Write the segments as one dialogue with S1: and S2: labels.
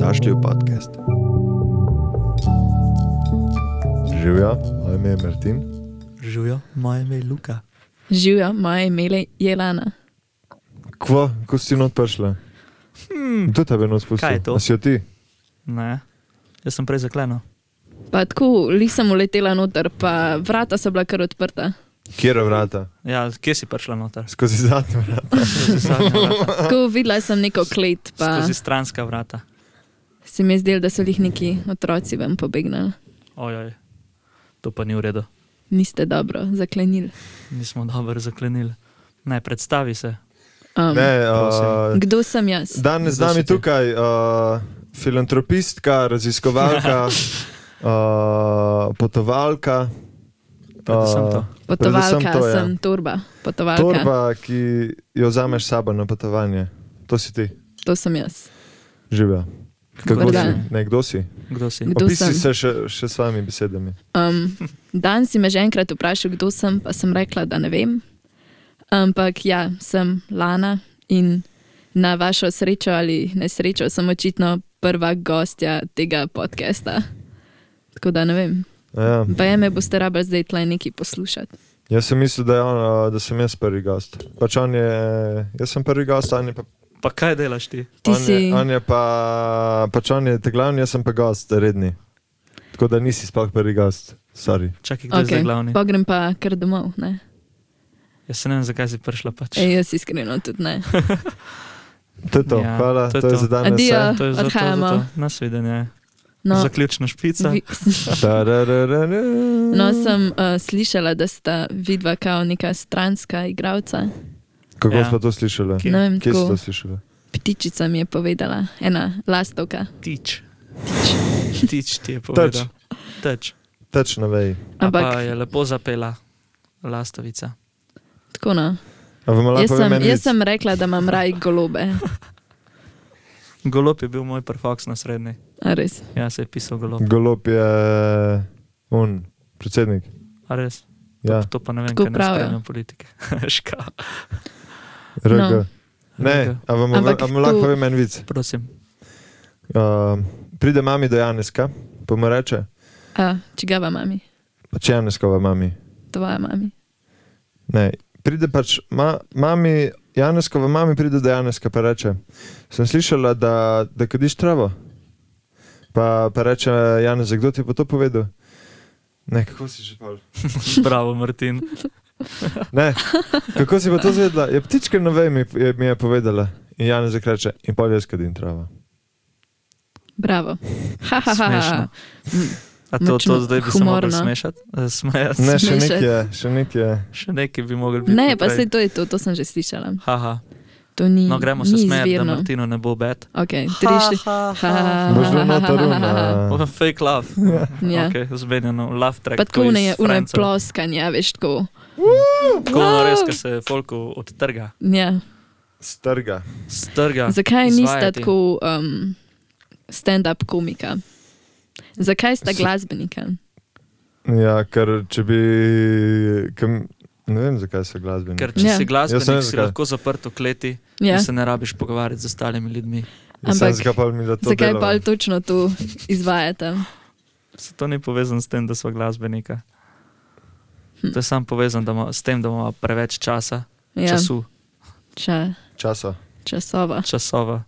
S1: Kašljev podcast.
S2: Živijo, ja, moje ime je Martin.
S3: Živijo, moje ime je Luka.
S4: Živijo, moje ime je Lana.
S2: Kvo, ko si not prišla?
S3: Hmm.
S2: Kdo te je not spustil?
S3: Kaj je to?
S2: A si jo ti?
S3: Ne, jaz sem prej zaklenil.
S4: Pa tako, lih sem uletela noter, pa vrata so bila kar odprta.
S2: Kjera vrata?
S3: Ja, kje si prišla noter?
S2: Skozi zadnja vrata.
S3: Skozi zadnja vrata,
S4: Tako videla sem neko klet, pa
S3: skozi stranska vrata.
S4: se mi je zdelo, da so jih neki otroci ven pobegnili.
S3: Ojoj, to pa ni v redu.
S4: Niste dobro zaklenili.
S3: Nismo dobro zaklenili. Ne, predstavi se.
S4: Um,
S2: Ne,
S3: Prosim.
S2: uh,
S4: kdo sem jaz?
S2: danes z nami
S3: Kdo si ti?
S2: tukaj uh, filantropistka,
S3: Ja.
S2: raziskovalka, uh, potovalka.
S3: Predvsem
S2: uh,
S3: to.
S4: Potovalka,
S2: to,
S4: to,
S2: ja.
S4: sem torba, potovalka.
S2: Torba, ki jo vzameš s sabo na potovanje. To si ti,
S4: To sem jaz.
S2: živijo. Kako
S4: Dober
S2: si?
S4: dan.
S2: Ne, kdo si?
S3: Kdo si?
S4: Kdo
S2: Opisi
S4: sem?
S2: se še, še s vami besedami.
S4: Um, dan si me že enkrat vprašal, kdo sem, pa sem rekla, da ne vem. Ampak ja, sem Lana in na vašo srečo ali nesrečo sem očitno prva gostja tega podcasta. Tako da ne vem.
S2: Ja.
S4: Baje me boste rabili zdaj tle neki poslušati.
S2: Jaz sem mislil, da, je on, eh, da sem jaz prvi gost. Pač on je, jaz sem prvi gost, on je pa.
S3: Pa kaj delaš ti?
S4: Ti
S2: on
S4: si-
S2: Je, on je pa, pač on je te glavni, jaz sem pa gost, redni. Tako da nisi sploh prvi gost, sorry.
S3: Čakaj, kdo okay. je zdaj glavni?
S4: pa grem pa kar domov. Ne?
S3: Jaz se ne vem, zakaj si prišla. Pač.
S4: Ej, jaz iskreno tudi ne.
S2: To je to, ja,
S3: Ja,
S2: hvala, to je, to je za danes.
S4: Adijo,
S3: To je za to, za
S4: odhajamo.
S3: to. Nasvidenje. No.
S4: No,
S3: Zaključna špica.
S4: vi,
S2: Tarararara.
S4: no, sem uh, slišala, da sta vidva kao neka stranska igralca.
S2: Kako ja.
S3: Ja.
S2: smo to slišali?
S3: Kje?
S4: Ne vem,
S2: Kje si
S4: tako.
S2: to slišali?
S4: Ptičica mi je povedala, ena lastovka.
S3: Tič.
S4: Ptič.
S3: Tič ti je
S2: Tač,
S3: povedal. Teč.
S2: tač na veji.
S3: Ampak
S4: Ampak
S3: je lepo zapela lastovica.
S4: tako no.
S2: A vam
S4: Jaz
S2: lahko
S4: sem,
S2: povem en
S4: jaz
S2: vic?
S4: sem rekla, da imam raj golobe.
S3: Golop je bil moj prvoks na srednji.
S4: A Res.
S3: Ja, se je pisal golop.
S2: Golop je un, predsednik.
S3: A res?
S2: Ja,
S3: To pa ne vem,
S4: Tako
S3: kaj
S4: pravijo.
S3: pravijo politike. Ška.
S2: RG. No.
S4: No.
S2: Ne, a vam,
S4: Ampak
S2: a vam lahko
S4: to-
S2: povem en vic?
S3: Prosim.
S2: Uh, pride mami do Janeska, pa mu reče,
S4: A, čigava mami,
S2: pač Janeskova mami.
S4: tvoja mami.
S2: Ne, pride pač ma, mami, Janeskova mami pride do Janeska, pa reče, sem slišala, da, da kadiš travo. Pa, pa reče, Janez, kdo ti je pa to povedal? Ne, kako si že pol?
S3: Bravo, Martin.
S2: Ne, kako si pa to zvedela? Je ptička na vej mi je, mi je povedala. In Janez reče, in pol jaz kadim travo.
S4: Bravo. Ha, ha, ha,
S3: Smešno.
S4: ha. Mm,
S3: A to, to
S4: Močno
S3: zdaj bi se mogli
S4: humorno.
S3: smešati? Eh, Smejati.
S2: Ne,
S3: Ne.
S2: še
S4: Smešen.
S2: nekje, še nekje.
S3: Še nekaj bi mogli biti.
S4: Ne, pa
S3: naprej.
S4: se to je to, to sem že slišala.
S3: Haha.
S4: To ni.
S3: No, gremo
S4: ni
S3: se smejati, da
S4: izvirno.
S3: Martinu ne bo bed.
S4: Okay, tri, štiri.
S3: Ha,
S4: Ha, ha,
S2: Boš
S4: ha,
S2: dal
S4: ha, ha,
S2: noter
S4: ha, ha.
S2: un.
S3: Oh, fake love.
S4: Ja.
S3: Okay, zmenjeno, love track.
S4: Pa tako ne je,
S3: iz
S4: une
S3: Friendsov.
S4: ploskanje, a veš tako.
S3: Tako no, res, ko se folku odtrga.
S4: Ja.
S2: Strga.
S3: Strga.
S4: Zakaj nista
S3: izvajati.
S4: tako um, stand-up komika? Zakaj sta
S2: S-
S4: glasbenika?
S2: Ja, ker če bi. Kam, ne vem, zakaj so glasbeni.
S3: Ker če
S4: Ja.
S2: Jaz ne
S3: si glasbenik,
S2: vem,
S3: si
S2: zakaj.
S3: lahko zaprt v kleti
S4: Ja.
S3: in se ne rabiš pogovarjati z ostalimi ljudmi.
S2: Ampak,
S4: ampak
S2: zakaj pa mi da to
S4: Zakaj
S2: delava?
S4: pa točno to izvajate?
S3: Se to ni povezano s tem, da smo glasbenika. To je samo povezano da ima- s tem, da imamo preveč časa, ja.
S4: Hm. Ja,
S3: času,
S4: ča,
S2: Časa.
S4: časova.
S3: časova.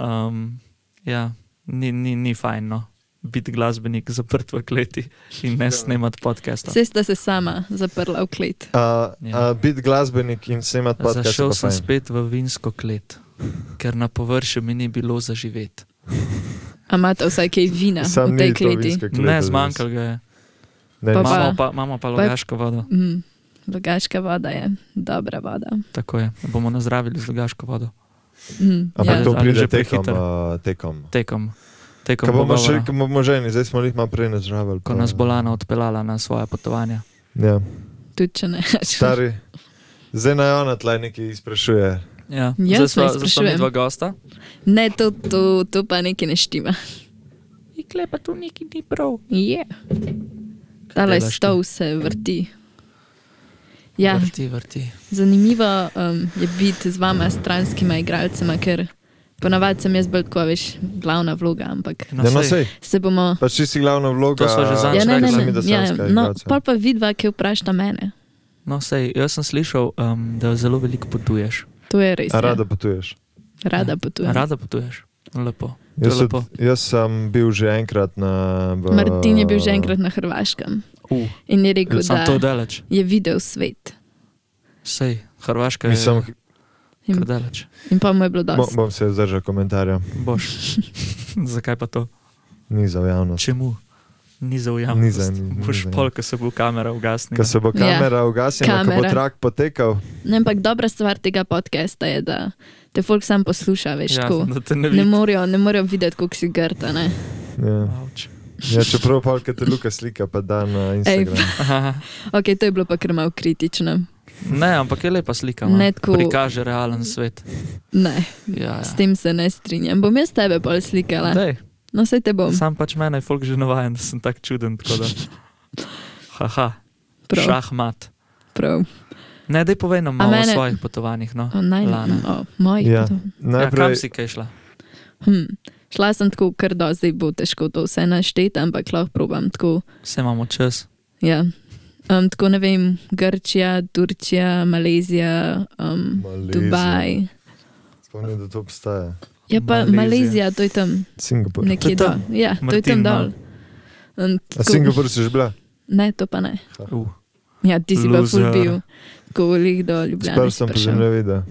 S3: Um, ja, ni, ni, ni fajn no. biti glasbenik zaprt v kleti in
S2: Ja.
S3: ne snemati podcasta.
S4: Vse sta se sama zaprla v klet.
S2: A, a
S3: Ja.
S2: biti glasbenik in snemati podcast. je
S3: Zašel
S2: pa
S3: sem
S2: fajn.
S3: spet v vinsko klet, ker na površju mi ni bilo za živeti.
S4: A imate vsaj kaj vina
S3: Ja,
S2: Sam
S4: v tej
S2: ni to
S4: kleti?
S2: vinska kleta,
S3: Ne,
S2: res.
S3: zmanjkalo ga je.
S2: Ne,
S4: Pa
S2: nis-
S3: Imamo pa, imamo pa logaško vodo,
S4: Mm, Logaška voda je dobra voda.
S3: tako je. Bomo nazdravili z logaško vodo.
S4: Mm,
S2: Ampak
S4: ja.
S2: to
S3: ali
S2: pride
S3: že
S2: tekom.
S3: prehitro.
S2: a, tekom.
S3: Tekom, tekom
S2: Ko bomo, še,
S3: pogovora,
S2: ko bomo ženi, zdaj smo jih malo prej nazdravili.
S3: ja. ko
S2: pa-
S3: nas bo Lana odpeljala na svoje potovanje.
S2: Ja.
S4: Tudi če ne.
S2: Stari, zdaj naj ona tlaj nekaj izprašuje.
S3: Ja.
S4: Jaz
S3: Zdaj sva-
S4: ne
S3: zdaj sva
S4: sprašujem.
S3: midva gosta.
S4: Ne, to, to, to pa nekaj ne štima.
S3: Ikle pa tu neki ni prav.
S4: Yeah. Tale
S3: delaš ti?
S4: stol se vrti. Ja,
S3: Vrti, vrti.
S4: zanimivo um, je biti z vama stranskima igralcema, ker Ponavadi sem jaz bolj, ko veš, glavna vloga, ampak
S3: Na
S2: Ja, no,
S3: sej.
S2: sej,
S4: se bomo.
S2: pač ti si glavna vloga.
S3: To sva že zadnjič
S4: Ja, ne, ne,
S3: rekla
S4: ne.
S3: mi,
S4: Ja, no, pol pa vidva, ki vprašata mene.
S3: No, sej, jaz sem slišal, um, da zelo veliko potuješ.
S4: To je res.
S2: A
S4: ja.
S2: rada potuješ.
S4: rada
S3: Ja.
S4: potujem.
S3: Rada potuješ. No, Lepo. To je
S2: Jaz,
S3: lepo.
S2: tudi- jaz sem bil že enkrat na. v-
S4: Martin je bil že enkrat na Hrvaškem
S3: Uh,
S4: in je rekel,
S3: Sam to
S4: da
S3: daleč.
S4: je videl svet.
S3: Sej, Hrvaška je
S2: Mislim,
S3: kar
S4: In,
S3: daleč.
S4: in pa mu je bilo
S2: mo,
S4: dosti.
S2: bom se zdržal komentarja,
S3: Boš. Zakaj pa to?
S2: ni za javnost.
S3: Čemu? Ni za
S2: Ni
S3: ujamem.
S2: za- ni
S3: Boš
S2: za-
S3: pol, ko se bo kamera ugasnila.
S2: Ko se bo
S4: Ja.
S2: kamera ugasnila, ko bo
S4: Kamera.
S2: trak potekal,
S4: Ne, No, ampak dobra stvar tega podcasta je, da te folk sam posluša, veš,
S3: ja,
S4: ko
S3: da te ne
S4: ne
S3: vidim.
S4: morejo, ne morejo videti, kako si grta. Ne?
S2: ja. Ja, čeprav pa, ker te Luka slika, pa da na Instagram.
S4: Ja, Ok, to je bilo pa kar malo kritično.
S3: Ne, ampak je lepa slika. ma.
S4: Ne tako-
S3: Prikaže realen svet.
S4: Ne,
S3: Ja, ja.
S4: s tem se ne strinjam. Bom jaz tebe bolj slikala.
S3: Dej,
S4: No, vse te bom.
S3: sam pač mene je folk že navajen, da sem tak čuden. tako Da... Haha,
S4: Prav,
S3: šahmat.
S4: prav.
S3: Ne, dej povej nam malo mene...
S4: mene-
S3: o svojih potovanjih. No.
S4: O, naj,
S3: Lana.
S4: o, mojih.
S2: Ja.
S4: to-
S3: Ja,
S2: Najprej,
S3: kam si kaj šla?
S4: Hm. Šla sem tako kar do, zdaj bo težko to vse našteti, ampak lahko probam tako.
S3: Vse imamo čas.
S4: Ja. Um, tako ne vem, Grčija, Turčija, Malezija, um,
S2: Malezija.
S4: Dubaj.
S2: Spomnim, da to obstaja.
S4: Ja, pa
S3: Malezija.
S4: Malezija, Malezija to je tam
S2: Singapur.
S3: To
S4: nekje
S3: je tam.
S4: dol. Ja, to je
S3: Martin,
S4: tam dol.
S3: no.
S4: Um,
S2: A Singapur si že bila?
S4: ne, to pa ne.
S3: Uh.
S4: Ja, ti si pa
S3: Loser.
S4: ful bil, ko lih do Ljubljana.
S2: Sprva sem pa že ne videl.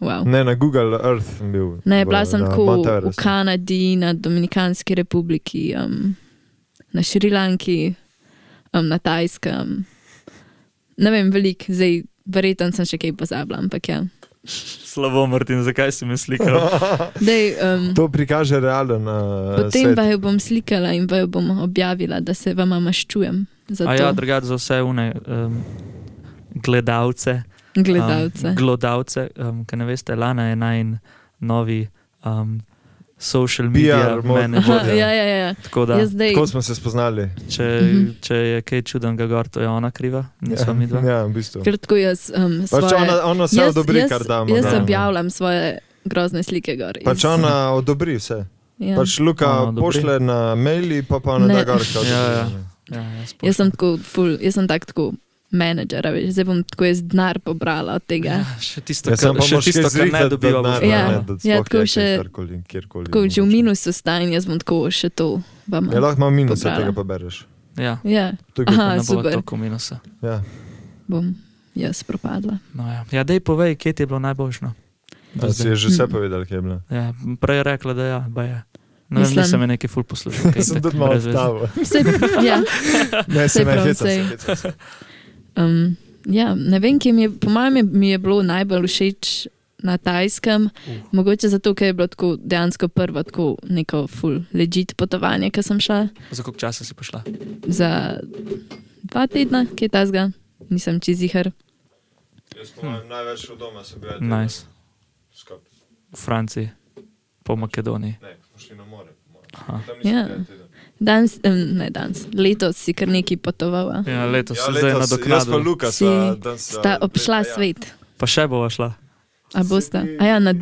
S4: Wow.
S2: Ne, na Google Earth sem bil.
S4: Ne,
S2: Bolj,
S4: bila sem
S2: na
S4: tako
S2: Mount
S4: v
S2: Everestu.
S4: Kanadi, na Dominikanski republiki, um, na Šrilanki, um, na Tajskem. Ne vem, velik, zdaj verjetno sem še kaj pozabila, ampak ja.
S3: Slabo, Martin, zakaj si me slikal?
S4: Dej, um,
S2: To prikaže realen. Uh,
S4: Potem
S2: svet.
S4: pa jo bom slikala in pa jo bom objavila, da se vama maščujem za
S3: A ja,
S4: to
S3: drugače za vse une um, gledalce.
S4: gledalce.
S3: Um, glodavce, um, ki ne veste, Lana je najn novi um, social media
S2: PR mod-
S4: Aha,
S3: manager.
S2: vodja.
S4: ja, ja, ja.
S3: Tako da,
S4: Ja, zdaj,
S2: Tako smo se spoznali.
S3: če,
S4: Mhm.
S3: če je kaj čudenega gor, to je ona kriva, nismo mi dva.
S2: Ja, v bistvu.
S4: ker tako jaz um,
S2: Pač
S4: svoje,
S2: ona, ona vse
S4: jaz,
S2: odobri,
S4: jaz,
S2: kar damo.
S4: Jaz
S2: da. no.
S4: objavljam svoje grozne slike gor. iz-
S2: Pač ona odobri vse.
S4: ja.
S2: Pač
S3: Ona
S2: Luka
S3: odobri.
S2: pošle na maili, pa pa ona
S4: Ne.
S2: da garka.
S3: Ja, ja.
S2: no.
S3: Ja, jaz
S4: jaz
S3: pošljem.
S4: sem tako ful, jaz sem tak tako menedžer, a veš, zdaj bom tako jaz denar pobrala od tega.
S3: Ja, še tisto,
S2: Ja, sem
S3: kar
S2: pa
S3: še
S2: moraš
S3: tisto,
S2: kaj
S3: kar ne
S2: zrihtati,
S3: dobiva,
S2: da
S3: boš
S4: Ja.
S2: ne,
S3: dala.
S2: ne, da
S4: Ja,
S2: sploh
S4: tako
S2: je
S4: še-
S2: kjerkoli- kjerkoli
S4: Tako že v
S2: mogoče.
S4: minusu stajam, jaz bom tako še to vam.
S2: Ja, lahko malo minus
S4: Pobrala.
S2: tega pobereš.
S3: ja.
S4: Ja,
S2: To je
S4: Aha.
S3: da
S4: A,
S3: ne bo
S4: super.
S3: toliko minusa.
S2: Ja.
S4: bom jaz propadla.
S3: No, ja. ja, dej povej, kje ti je bilo najboljšno. Do
S2: A Ja, Si je
S3: zdaj.
S2: že vse
S4: Mm.
S2: povedal, kje je bila.
S3: Ja, prej je rekla, da ja, ba je. Ne vem,
S4: Mislim-
S3: nisem je nekaj ful poslušal. kaj
S2: Sem
S3: itak,
S2: tudi malo
S3: brez veze.
S2: odstavil.
S4: Sej, ja,
S2: Ne, se
S4: Saj
S2: ne
S4: prav,
S2: hecam, se
S4: saj.
S2: hecam.
S3: Hm.
S2: se.
S4: Um, ja, ne vem, ki mi je, po mojem, je- mi je bilo najbolj všeč na tajskem.
S3: Uh.
S4: Uh. Mogoče zato, ker je bilo tako dejansko prvo tako neko full legit potovanje, ki sem šla
S3: Za koliko časa si prišla?
S4: za dva tedna, ki je tazga, nisem čizihar.
S2: Jaz po mojem največ od doma sem bil.
S3: Nice.
S2: Skop.
S3: V Franciji, po Makedoniji.
S2: Ne, smo šli na more. po mojem.
S3: Aha.
S2: Tam
S4: Ja.
S2: bil en teden.
S4: Danes, um, ne danes, letos si kar neki potovala.
S3: Ja, letos
S2: Ja,
S3: ja, zdaj
S2: letos Jaz pa
S3: nadoknadil.
S2: Luka
S4: Si
S2: sva danes,
S4: Sta
S2: eh,
S4: obšla
S2: leta, ja.
S4: svet,
S3: Pa še bova šla.
S4: a bosta, a ja, na,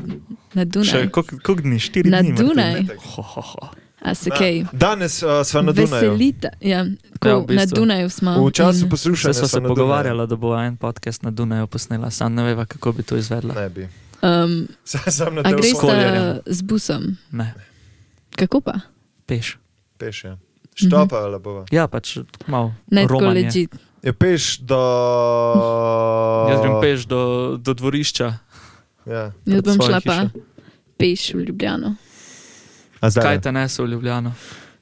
S4: na
S3: Še
S4: Dunaj.
S3: koliko koliko dni? Štiri
S4: Na
S3: dni. Martin.
S4: Dunaj,
S3: Ho, ho, ho.
S4: a se
S2: Da.
S4: kaj.
S2: Danes uh, sva na Dunaju.
S4: Veselita, ja, tako,
S3: Ja,
S4: ja,
S3: v
S4: na
S3: bistvu.
S4: Dunaju smo.
S2: V času
S4: no. in-
S2: poslušanja
S3: Vse
S2: sva
S3: smo se
S2: na Dunaju.
S3: pogovarjali, da bo en podcast na Dunaju posnela, sam ne veva, kako bi to izvedla.
S2: Ne bi.
S4: um,
S2: Sam, sam na
S4: a
S2: tem
S4: greš
S3: koljerjem.
S4: z busom?
S3: Ne,
S4: Kako pa?
S3: peš.
S2: peš.
S4: Mhm.
S2: Ja. Štopa ali bova.
S3: Ja, pač malo.
S4: Ne, tako
S3: romanje.
S4: leži.
S2: Je peš do...
S3: Jaz grem peš do, do dvorišča.
S2: Ja.
S4: Jaz
S3: Pred
S4: bom
S3: svojo
S4: šla pa
S3: hišo.
S4: peš v Ljubljano.
S2: A zdaj,
S3: Kaj te nese v Ljubljano?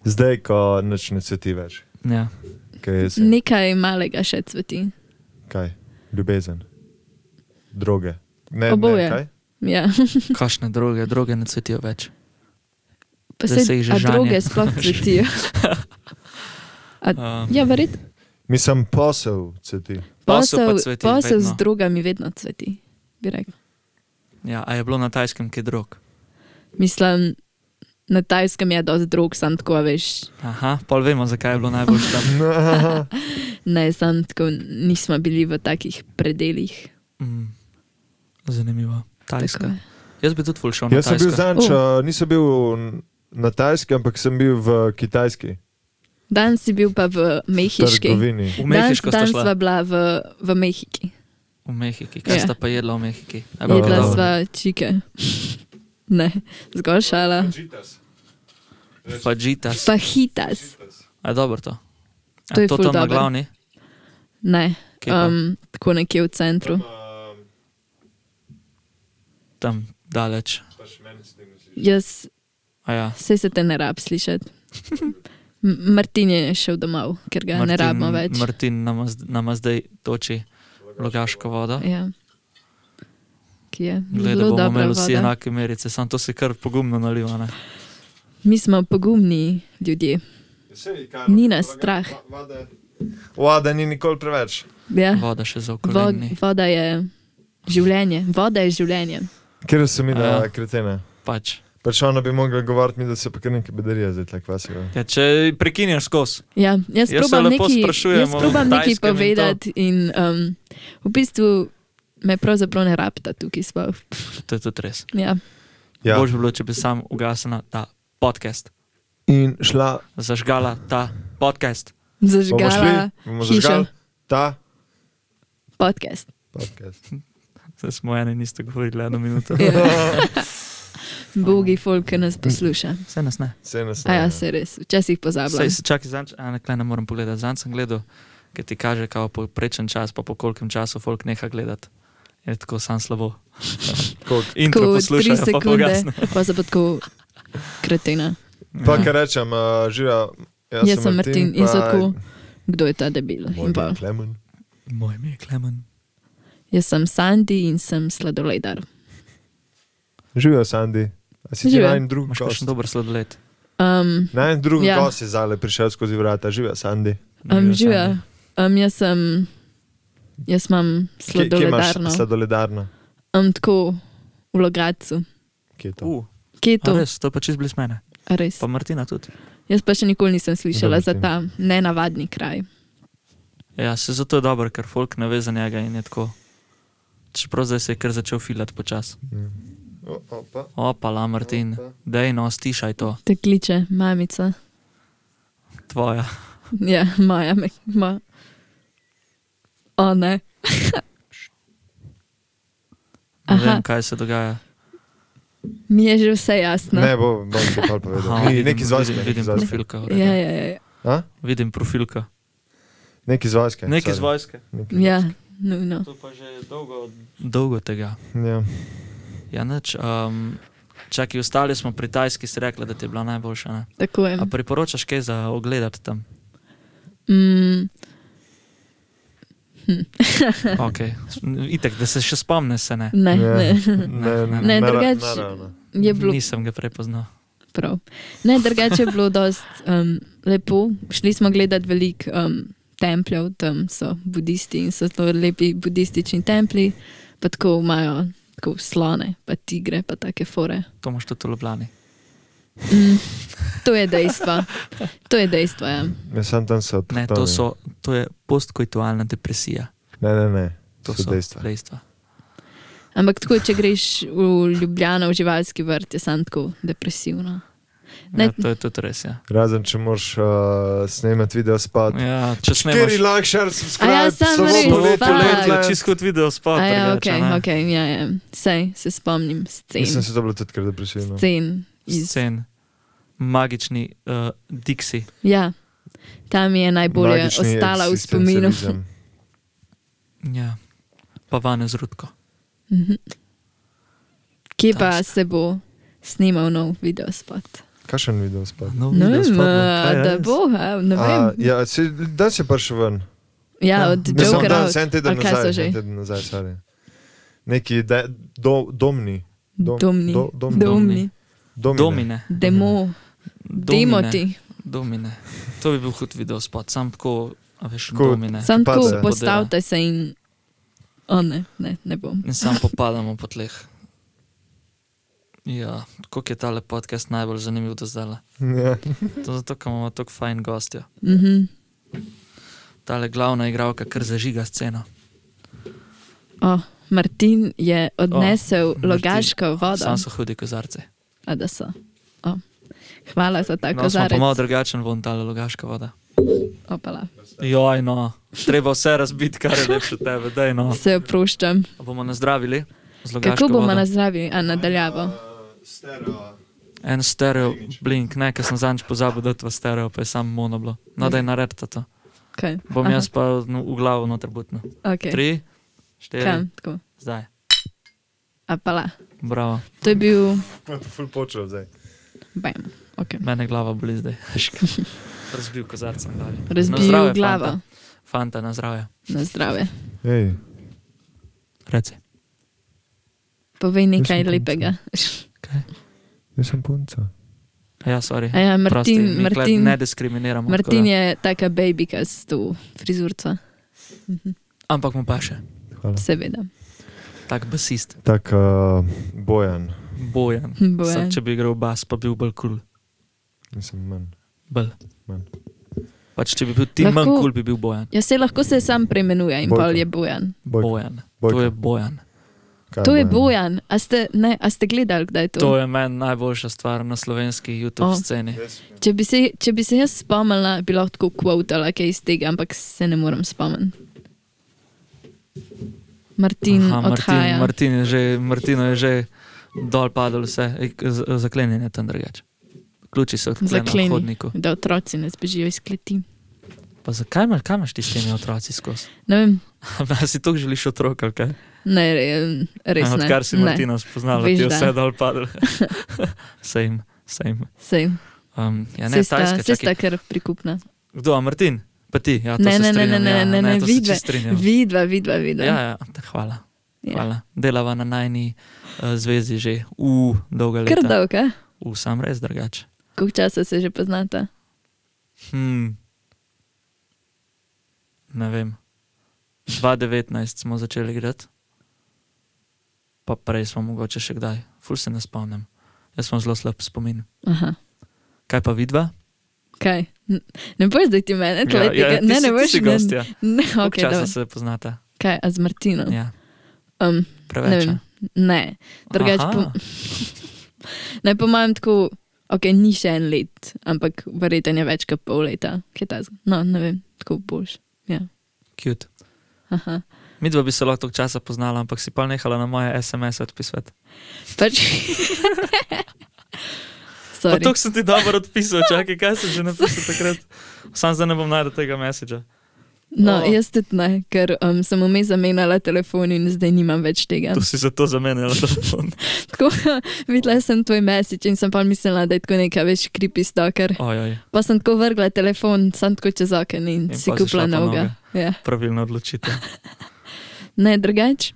S2: zdaj, ko nič ne cveti več.
S3: Ja.
S2: Kaj je se?
S4: Nekaj malega še cveti.
S2: Kaj? Ljubezen. Droge. Ne, Ne,
S4: Oboje.
S2: kaj?
S4: Ja.
S3: Kakšne droge, droge ne cvetijo več.
S4: Pa
S3: Da
S4: se,
S3: se jih že
S4: a
S3: žanje.
S4: droge sploh cvetijo.
S3: Um,
S4: Ja, verjetno.
S2: Mislim, posel cveti.
S3: Posel pa
S4: Posel,
S3: cveti
S4: posel
S3: vedno.
S4: z drogami vedno cveti. bi rekla.
S3: ja, a je bilo na tajskem kaj drog?
S4: Mislim, na tajskem je dosti drog, sam tako a veš.
S3: Aha, pol vemo, zakaj je bilo najbolj tam.
S4: Ne, sam tako nismo bili v takih predeljih.
S3: Mm. Zanimivo.
S4: Tako
S3: Tajska.
S4: je.
S3: Jaz bi tudi full šel na
S2: Jaz sem bil
S3: Tajsko.
S2: zanč, uh. nisem bil na Tajski, ampak sem bil v Kitajski
S4: Dan si bil pa v Mehiški.
S2: trgovini.
S3: V
S4: Dan,
S3: Mehiko sta
S4: dan sva
S3: šla.
S4: bila v, v Mehiki.
S3: V Mehiki. Kaj sta
S4: Ja.
S3: pa jedla v Mehiki? A bi
S4: Jedla
S3: bilo-
S2: dobro.
S4: sva čike. Ne, zgolj šala.
S3: Fajitas.
S4: Fajitas.
S3: A je dobro to? A
S4: To je
S3: to
S4: ful
S3: tam na
S4: dobro.
S3: glavni?
S4: Ne,
S3: Kje pa?
S4: um, tako nekje v centru.
S3: Tam daleč.
S4: Jaz
S3: A ja.
S4: se, se te ne rab slišati. M- Martin je šel domov, ker ga Martin, Ja, ne rabimo več.
S3: Martin nama, z- nama zdaj toči logaško vodo.
S4: Ja. Ki je
S3: Glej, da
S4: zelo
S3: bomo
S4: dobra
S3: imeli vsi
S4: voda.
S3: enake merice, samo to se kar pogumno naliva. Ne?
S4: Mi smo pogumni ljudje. Ni nas strah.
S2: Voda ni nikoli preveč.
S4: Ja.
S3: Voda še za
S4: Vo,
S3: okolje.
S4: voda je življenje. Voda je življenje.
S2: Ker sem
S3: Aja.
S2: videl kretene.
S3: Pač.
S2: Pač ona bi mogla govoriti mi, da se pa kar neke bedarije zdaj tako vasijo.
S3: Ja, če prekinješ skozi,
S4: Ja, jaz
S3: Jaz se
S4: probam
S3: lepo
S4: nekaj,
S3: sprašujem
S4: jaz
S3: o
S4: probam nekaj
S3: Tajskem in to.
S4: povedati in um, v bistvu me pravzaprav ne rabita tukaj sploh.
S3: to je tudi res.
S4: Ja.
S2: Ja.
S3: Ja. Bož bi bilo, če bi sam ugasnila ta podcast,
S2: In šla,
S3: zažgala ta podcast.
S2: bomo šli,
S4: Zažgala
S2: bomo
S4: hišo.
S2: zažgali ta
S4: podcast.
S2: podcast.
S3: Zdaj smo eno in isto govorili, eno minuto.
S4: Ja. Bogi folk, ki nas posluša.
S3: Vse nas ne.
S2: Vse nas
S4: A ja,
S2: ne.
S4: se res,
S3: Sej
S4: včasih pozabljam.
S3: se čakaj, zanč, a ne, kaj ne morem pogledati. Zanj sem gledal, ker ti kaže, kako poprečen čas, pa po kolkem času folk neha gledati. Je tako sam slabo.
S2: Koliko?
S3: In
S4: Tako
S3: ko
S4: tri
S3: poslušaš, pa
S4: sekunde,
S3: pogasne.
S4: pa se pa tako kretena.
S2: Pa
S3: Ja.
S2: kar rečem, uh, živa. Jaz,
S4: Jaz sem Martin in
S2: pa
S4: so tako, kdo je ta debil.
S2: moj
S4: In
S2: brat
S4: pa,
S2: Klemen.
S3: Ja. Moj ime je Klemen.
S4: Jaz sem Sandy in sem sladoledar.
S2: Živijo, Sandi. A si ti
S4: Živijo.
S2: najmanj drug
S3: Imaš
S2: gost?
S3: še dober sladoled.
S4: Um,
S2: Najmanj drug
S4: Ja.
S2: ja. gost je zale prišel skozi vrata. Živijo, Sandi.
S4: um, Živijo. Um, jaz sem, jaz imam
S2: Kje kje imaš
S4: sladoledarno.
S2: sladoledarno?
S4: Um, tako v Logracu.
S2: Kje je to?
S3: Uh,
S4: Kje je to?
S3: to. Res, to je pa čez blizu mene.
S4: A res?
S3: Pa Martina tudi.
S4: Jaz pa še nikoli nisem slišala
S2: Dobro,
S4: za
S2: Tim.
S4: ta nenavadni kraj.
S3: Ja, se zato je dobro, ker folk ne ve za njega in je tako. Čeprav zdaj se je kar začel filati počasi.
S2: Mm. O, opa,
S3: Opa, la Martin,
S2: opa.
S3: dej no, stišaj to,
S4: Te kliče mamica.
S3: tvoja.
S4: Ja, moja. me- Ma. O ne.
S3: Ne
S4: Aha.
S3: vem, kaj se dogaja.
S4: Mi je že vse jasno.
S2: Ne, bo, bom ti pa povedal.
S3: Aha,
S2: Ni, Neki iz vojske.
S3: vidim,
S2: neki
S3: vidim
S2: iz vojske.
S3: profilka. v redu.
S4: ja, ja, ja.
S2: A?
S3: Vidim profilka.
S2: Neki iz vojske.
S3: Nek iz
S2: Ja, sorry.
S3: vojske.
S2: Neki-
S4: ja nujno.
S3: To pa že dolgo, dolgo tega.
S2: Ja.
S3: Ja, nič. Um, čakaj, ostali smo pri Tajski, si rekla, da ti je bila najboljša. Ne?
S4: Tako je.
S3: A priporočaš kaj za ogledati tam?
S4: Mm,
S3: Okay. Itek, da se še spomne, se ne.
S4: ne,
S2: Ja.
S4: ne.
S2: Ne,
S3: Ne,
S2: nara-
S4: drugače-
S2: naravno.
S4: Je bilo
S3: Nisem ga prepoznal.
S4: prav. Ne, drugače je bilo dosti um, lepo. Šli smo gledati veliko um, templjev, tam so budisti in so zelo lepi budistični templji, pa tako imajo tako slone, pa tigre, pa take fore.
S3: To imaš tudi v Ljubljani.
S4: Mm, to je dejstvo. To je dejstvo. Ja.
S2: Ja, sam tam so.
S3: Ne, to,
S2: avtohtoni.
S3: so, to je postkoitualna depresija.
S2: Ne, ne, ne.
S3: To
S2: So
S3: so
S2: dejstva.
S3: dejstva.
S4: Ampak tako, če greš v Ljubljano, v živalski vrt, je sam tako depresivno. Ne.
S3: Ja, to je tudi res. Ja.
S2: Razen če moraš uh, snemati video spad.
S3: Ja, če
S2: Kjer
S3: snemaš
S2: like, share,
S4: A ja,
S2: subscribe, samo
S4: samo res,
S2: poletje,
S4: fakt.
S2: letje,
S3: poletje, čisto kot video spot.
S4: A ja,
S3: drugače, ne.
S4: okay, okay, ja, ja. Sej, se spomnim
S2: Mislim,
S4: scen.
S2: da se to bilo tudi kar depresivno.
S4: Scen iz
S3: Scen. Magični uh, Dixie.
S4: Ja, tam je najbolje
S2: Magični
S4: ostala v spominu.
S2: eksistencializem.
S3: Ja. Pa vane z rutko.
S4: Mhm. Kje pa
S3: Taška.
S4: se bo snimal nov video spot?
S2: Kakšen video spad?
S3: No,
S4: Ne
S3: video
S4: vem,
S3: spot,
S4: a,
S3: kaj je
S4: da
S3: res?
S4: bo, a, ne
S2: A,
S4: vem.
S2: ja, se, da si prišel ven.
S4: Ja, od
S3: Mislim,
S4: Jokera.
S2: da sem en teden
S4: ali kaj so
S2: nazaj.
S4: že?
S2: En teden nazaj, sorry. Neki de, do, domni. Dom-
S4: Domni.
S2: do- dom-
S4: Domni.
S2: Domine.
S3: Domine.
S4: Demo.
S3: Domine.
S4: Demoti.
S3: Domine. To bi bil hud video spot, sam tako, a veš,
S2: Tako-
S3: domine.
S4: Sam
S2: Ki ja.
S4: tako
S2: pade.
S4: postavite se in. O ne, ne, ne bom.
S3: In sam popadamo po tleh. Ja, koliko je tale podcast najbolj zanimiv do zdaj?
S2: Ja.
S3: To je zato, ker imamo tako fajn gostja.
S4: Mhm.
S3: Tale glavna igralka kar zažiga sceno.
S4: O, Martin je odnesel oh,
S3: Martin.
S4: logaško vodo.
S3: Sam so hudi kozarci.
S4: A da so. O. Hvala za ta
S3: No, smo pa
S4: kozarec.
S3: malo drugačen von ta logaška voda.
S4: Opala.
S3: Joj, no, treba vse razbiti, kar je lepše od tebe, daj no.
S4: Se oproščam.
S3: A Bomo nazdravili. z logaško
S4: Kako bomo
S3: vodo?
S4: nazdravili? A nadaljavo.
S3: En stereo, blink, ne, ker sem zadnjič pozabil, da je to stereo, pa je samo monoblo. No, da je naredite to.
S4: Kaj?
S3: Bom
S4: Aha,
S3: jaz pa no, v glavo noter butno.
S4: Okay.
S3: Tri, štiri,
S4: Kam? Tako.
S3: zdaj.
S4: Apala.
S3: Bravo,
S4: To je bil.
S2: Ful počel zdaj.
S4: Bam. Okay.
S3: mene glava boli zdaj. Razbil kozarca na glavi. Na
S4: Razbil
S3: zdravje,
S4: glavo.
S3: Fanta, fanta na zdravje.
S4: Na zdrave.
S2: Ej,
S3: Reci.
S4: Povej nekaj
S2: Mislim,
S4: lepega.
S3: Kaj?
S2: jaz sem punca.
S3: Ja, sorry.
S4: A Ja,
S3: Prosti, mi
S4: Martin,
S3: tule
S4: Martin,
S3: ne diskriminiramo. tako
S4: Martin
S3: da.
S4: je taka babika s to frizurco, Mhm.
S3: Ampak mu pa še,
S2: Hvala.
S4: seveda.
S3: tak basist,
S2: Tak uh, bojan,
S3: bojen.
S4: Bojan.
S3: Sam, če bi igral bas, pa bil bolj kul. Cool.
S2: mislim, manj.
S3: Bolj.
S2: Manj.
S3: Pač, če bi bil ti
S4: Lahko-
S3: manj kul, cool, bi bil bojen.
S4: Ja, se lahko se sam preimenuje in
S2: Bojko.
S4: pol je bojan.
S2: Bojko.
S3: Bojan.
S2: Bojko.
S3: To je bojan.
S2: Kaj
S4: To je bojan. A ste, ne, a ste gledali, kdaj je to?
S3: To je meni najboljša stvar na slovenski YouTube oh.
S4: O.
S3: sceni.
S4: Če bi, se, če bi se jaz spomnila, bi lahko kvotala kaj iz tega, ampak se ne morem spomniti. Martin Aha, odhaja.
S3: Martin, Martin je že, Martino je že dol padlo vse, Ej, k- z- zaklenjen je tam drugače. Ključi so odklenjeni
S4: Zakleni.
S3: na hodniku.
S4: Da otroci ne zbežijo iz kleti.
S3: Pa zakaj imaš, kaj imaš ti s temi otroci skozi?
S4: Ne vem,
S3: A si to želiš otroka, ali kaj?
S4: ne, re- res ne.
S3: Odkar si
S4: Ne,
S3: Martina spoznala,
S4: Veš,
S3: ti je
S4: da.
S3: vse dol padlo. sejm, sejm.
S4: Sej,
S3: Um, ja, ne,
S4: sej sta,
S3: tajska, čakaj.
S4: sej sta kar prikupna.
S3: Kdo, a Martin? Pa ti, ja, to
S4: Ne,
S3: se
S4: ne, ne,
S3: strinjam,
S4: ne,
S3: ja,
S4: ne, ne,
S3: to se
S4: vidve,
S3: čisto strinjam.
S4: Vidva, vidva, vidva.
S3: Ja, ja, hvala,
S4: Ja.
S3: hvala. Delava na najni uh, zvezi že v dolga
S4: Kar
S3: leta.
S4: dolga.
S3: V sam res drugače.
S4: Koliko časa se že poznata?
S3: Hmm. Ne vem. 2019 smo začeli igrati, pa prej smo mogoče še kdaj, ful se ne spomnim. Jaz sem zelo slab spomin.
S4: Aha.
S3: Kaj pa vidva?
S4: Kaj? N- Ne boš zdaj ti meni, ja, ja,
S3: ti
S4: ne,
S3: si-
S4: ne
S3: ti
S4: boš
S3: si gostja.
S4: Ne,
S3: Koliko
S4: okay,
S3: časa
S4: dobro.
S3: se poznata?
S4: Kaj, a z Martinom?
S3: Ja,
S4: Um, Ne
S3: preveč.
S4: vem,
S3: a?
S4: Ne, drugače
S3: Aha.
S4: po- ne po mojem tako, ok, ni še en let, ampak verjetno je več kot pol leta, kaj ta zgo. No, ne vem, tako boš.
S3: Cute.
S4: Aha.
S3: Mi dva bi se lahko toliko časa poznala, ampak si pa nehala na moje SMS odpisati.
S4: Pač.
S3: Pa
S4: Sorry.
S3: to sem ti dobro odpisal, čakaj, kaj si že napisal takrat. Sam zdaj ne bom najdel tega mesiča.
S4: No,
S3: o.
S4: jaz tudi ne, ker um, sem vmes zamenjala telefon in zdaj nimam več tega.
S3: To ja. si zato zamenjala telefon.
S4: Tako, videla sem tvoj message in sem pa mislila, da je tako neka več creepy stalker.
S3: Ojoj,
S4: Pa sem tako vrgla telefon, sem tako čez oken in,
S3: In
S4: si
S3: pol si šla
S4: kupila
S3: po
S4: novega. Ja.
S3: pravilna odločitev.
S4: Ne, drugače,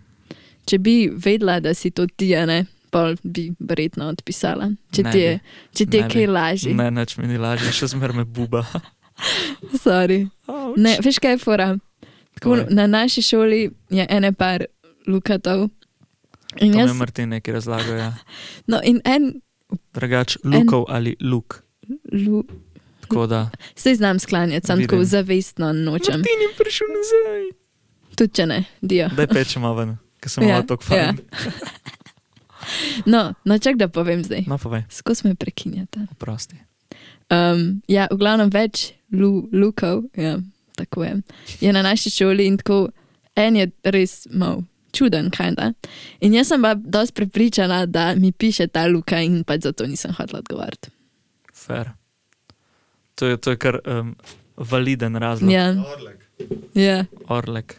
S4: če bi vedela, da si to ti, a ne, pol bi verjetno odpisala. Če
S3: Ne
S4: ti je,
S3: bi.
S4: če ti je
S3: Ne bi.
S4: kaj lažje,
S3: Ne, nič mi ni lažje, še zmer me buba.
S4: sorry.
S3: Ouch.
S4: Ne, veš kaj je fora. Tako,
S3: Povej.
S4: na naši šoli je ene par lukatov.
S3: To
S4: In,
S3: mi je
S4: jaz,
S3: Martin nekaj razlagal, ja.
S4: no, in en,
S3: Drugač, lukov ali luk.
S4: lu,
S3: Tako da,
S4: se znam sklanjati, sem tako
S3: Vidim.
S4: zavestno nočem.
S3: Martin je prišel nazaj.
S4: Tudi če ne, dio.
S3: Daj pečemo ven, ker sem
S4: Ja,
S3: malo tako fajn.
S4: No, no čak da povem zdaj.
S3: No, povej,
S4: Skozi me prekinjata.
S3: oprosti.
S4: Um, ja, v glavnem več lu, lukov, ja, tako je. Je na naši šoli in tako en je res mal čuden, kajda. In jaz sem pa dosti prepričana, da mi piše ta luka in pač zato nisem hotela odgovoriti.
S3: Fair. To je, to je kar um, validen razlog.
S4: Ja, ja,
S3: Orlek.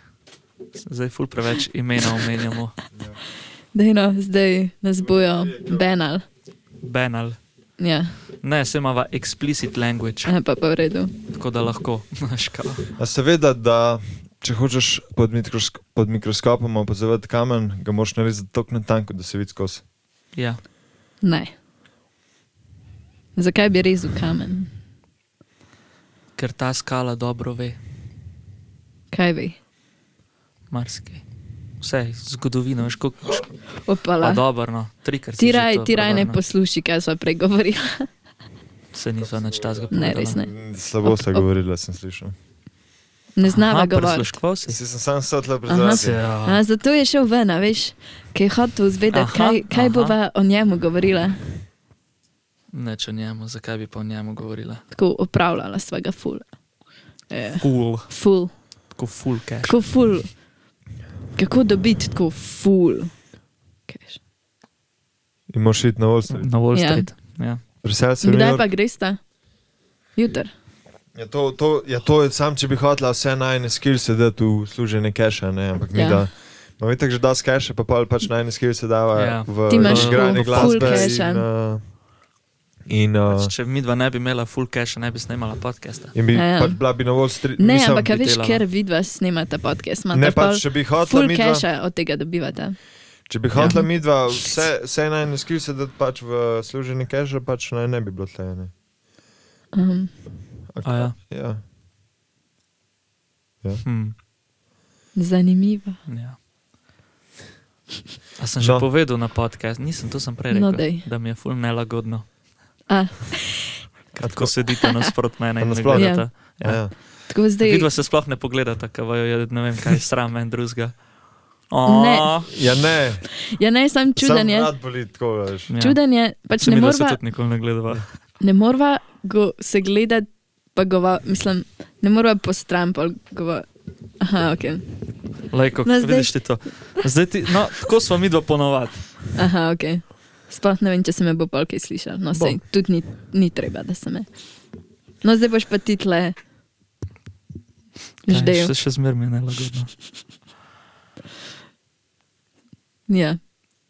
S3: Zdaj, ful preveč imena omenjamo.
S4: dejno, no, zdaj nas bojo benal.
S3: Benal.
S4: Ja,
S3: Ne, se imava explicit language,
S4: a pa pa v redu.
S3: tako da lahko. Škala.
S2: A seveda, da če hočeš pod, mikrosk pod mikroskopom opazovati kamen, ga moraš narediti tako na tanko, da se vidi skozi.
S3: Ja,
S4: Ne. Zakaj bi rezal kamen?
S3: ker ta skala dobro ve
S4: Kaj ve?
S3: marsikaj. Vse, zgodovino, veš, kako je
S4: Opala.
S3: dobro, no, trikrat. si
S4: Ti
S3: že
S4: raj,
S3: to no.
S4: ti raj ne
S3: prevrnil.
S4: posluši, kaj sva pregovorila.
S3: Se nisva nič tazga no.
S4: Ne, res ne.
S2: Slabo sta govorila, sem slišal.
S4: ne znava govoriti.
S3: Prisluškoval si?
S2: Si sem sam sotla
S4: Aha.
S2: predstavljal.
S3: Ja.
S4: A, zato je šel ven, a veš, ker je hotel zvedeti,
S3: Aha,
S4: kaj, kaj
S3: aha.
S4: bova o njemu govorila.
S3: Neč o njemu, zakaj bi pa o njemu govorila?
S4: Tako opravljala svega ful. E,
S3: Ful,
S4: ful,
S3: tako ful cash.
S4: tako ful. Kako dobiti tako ful? Cash.
S2: In moraš iti na Wall Street.
S3: Na Wall
S4: Ja.
S3: Street. Ja.
S2: Presel si v New
S4: Kdaj
S2: York.
S4: pa greš ta? Jutr.
S2: Ja, to, to, ja, to je sam, če bi hotela vse najne skillse dati v služenje keša, ne, ampak mi
S4: Ja.
S2: da. No, itak že da s keša, pa pol pač najne skillse dava
S3: Ja.
S2: ja. v
S4: Ti imaš
S2: igranje
S4: ful- ful
S2: glasbe
S4: cache-a.
S2: in, uh, in, uh,
S3: Pač, če mi dva ne bi imela full cash, ne bi snemala podcasta.
S2: in bi
S4: Ja, ja.
S2: pač bila bi na Wall Street.
S4: Ne,
S2: mislim,
S4: ampak ja, a veš,
S3: delala.
S4: ker vidva snemata podcast,
S2: no.
S4: imaš
S2: Ne, pač, če bi hotela
S4: ful
S2: midva,
S4: keša od tega dobivata.
S2: če bi
S4: Ja.
S2: hotela midva vse, vse najne skillse dati pač v služenje keša, pač naj ne bi bilo tlejene.
S4: Um,
S3: A ja.
S2: Ja.
S3: Hm.
S4: zanimivo.
S3: Ja. A sem že
S2: No.
S3: no. povedal na podcast, nisem to sem prej
S4: No,
S3: rekel,
S4: dej.
S3: da mi je ful nelagodno.
S4: A.
S3: Kako sedite nasprot mene in me
S2: Nasploh.
S3: gledate. Ja.
S2: Ja.
S4: Tako zdaj,
S3: Vidva se sploh ne pogledata, kaj vaju je, ne vem, kaj je sram en drugega.
S4: Ne.
S3: O,
S2: ja, ne,
S4: ja ne, sam čuden je.
S2: Sam rad boli tako, veš.
S3: Ja.
S4: Čuden je, pač
S3: Se
S4: ne
S3: mi da se
S4: morva,
S3: tudi nikoli ne gledava.
S4: ne morva go, se gledati, pa gova, mislim, ne morva postran, pa gova. Aha, ok.
S3: Lajko,
S4: No,
S3: no,
S4: zdaj-
S3: vidiš ti to. Zdaj ti, no, tako smo mi dva ponovadi.
S4: Aha, ok. Sploh ne vem, če se me bo polkaj slišal. No, sej, tudi ni, ni treba, da se me. No, zdaj boš pa ti tle.
S3: Aj,
S4: Ždejo.
S3: Še, še zmeraj mi je nelagodno.
S4: Ja,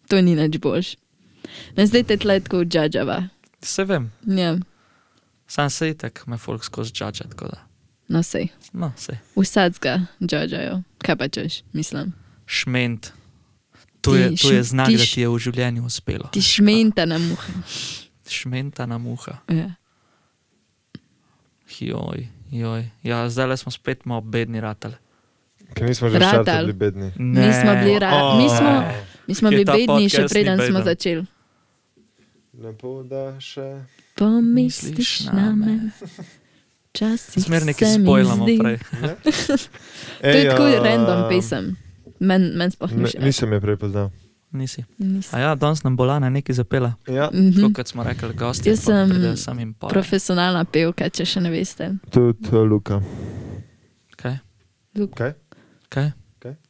S4: to ni nič boljš. No, zdaj te tle tako džadžava.
S3: Se vem,
S4: Ja,
S3: sam se itak me folk skozi džadža, tako da.
S4: no, sej.
S3: No, se.
S4: Vsadzga džadžajo. Kaj pa češ, mislim.
S3: Šment. To
S4: Ti
S3: je, to je
S4: šm-
S3: znak,
S4: ti
S3: da
S4: š-
S3: ti je v življenju uspelo.
S4: Ti šmenta na muhe.
S3: Šmenta na muha.
S4: Ja.
S3: Joj, joj. Ja, zdaj le smo spet malo bedni ratali.
S2: Ker nismo že
S4: Ratal.
S2: štartali bili bedni.
S4: Mi smo bili ra- mi smo- Mi smo
S3: Je
S4: bili
S3: ta
S4: bedni, še
S3: podcast ni
S4: preden smo
S3: beden.
S4: začeli.
S2: Ne boda še.
S4: Pomisliš na me. Časi.
S3: Smer neki spojlamo prej.
S4: To je tako random pesem. Meni men sploh ni
S2: Ne,
S4: všeč.
S2: ja. nisem je prepoznal.
S3: Nisi.
S4: Nisem.
S3: A ja, danes nam bo Lana nekaj zapela.
S2: Ja,
S4: Mhm.
S3: Tako kot smo rekli, gosti.
S4: Jaz sem
S3: Sam jim pa.
S4: Profesionalna pevka, če še ne veste.
S2: tudi uh, Luka.
S3: Kaj?
S2: Kaj?
S3: Kaj?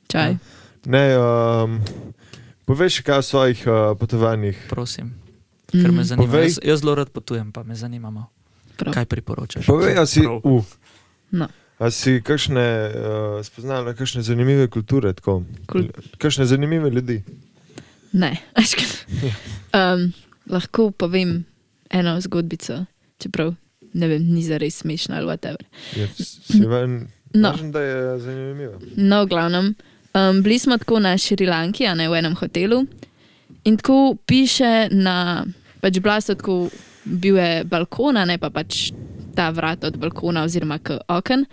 S4: Čaj.
S2: Ne, um, poveš, kaj o svojih uh, potovanjih.
S3: Prosim.
S4: Mhm.
S3: Ker me zanima.
S2: Povej.
S3: Jaz, jaz zelo rad potujem, pa me zanima. malo.
S4: Prav.
S3: Kaj priporočaš?
S2: Povej, a si,
S3: Prav.
S2: uh,
S4: No.
S2: a si kakšne, uh, spoznala kakšne zanimive kulture, tako?
S4: Kul-
S2: kakšne zanimive ljudi.
S4: Ne, aška. Um, lahko povem eno zgodbico, čeprav ne vem, ni zares smešna ali whatever.
S2: Je, si ven,
S4: No.
S2: Važno, da je zanimiva.
S4: No, v glavnem. Um, bili smo tako na Šrilanki, a ne v enem hotelu. In tako piše na, pač bila so tako, bil je balkon, a ne pa pač ta vrat od balkona oziroma k oken.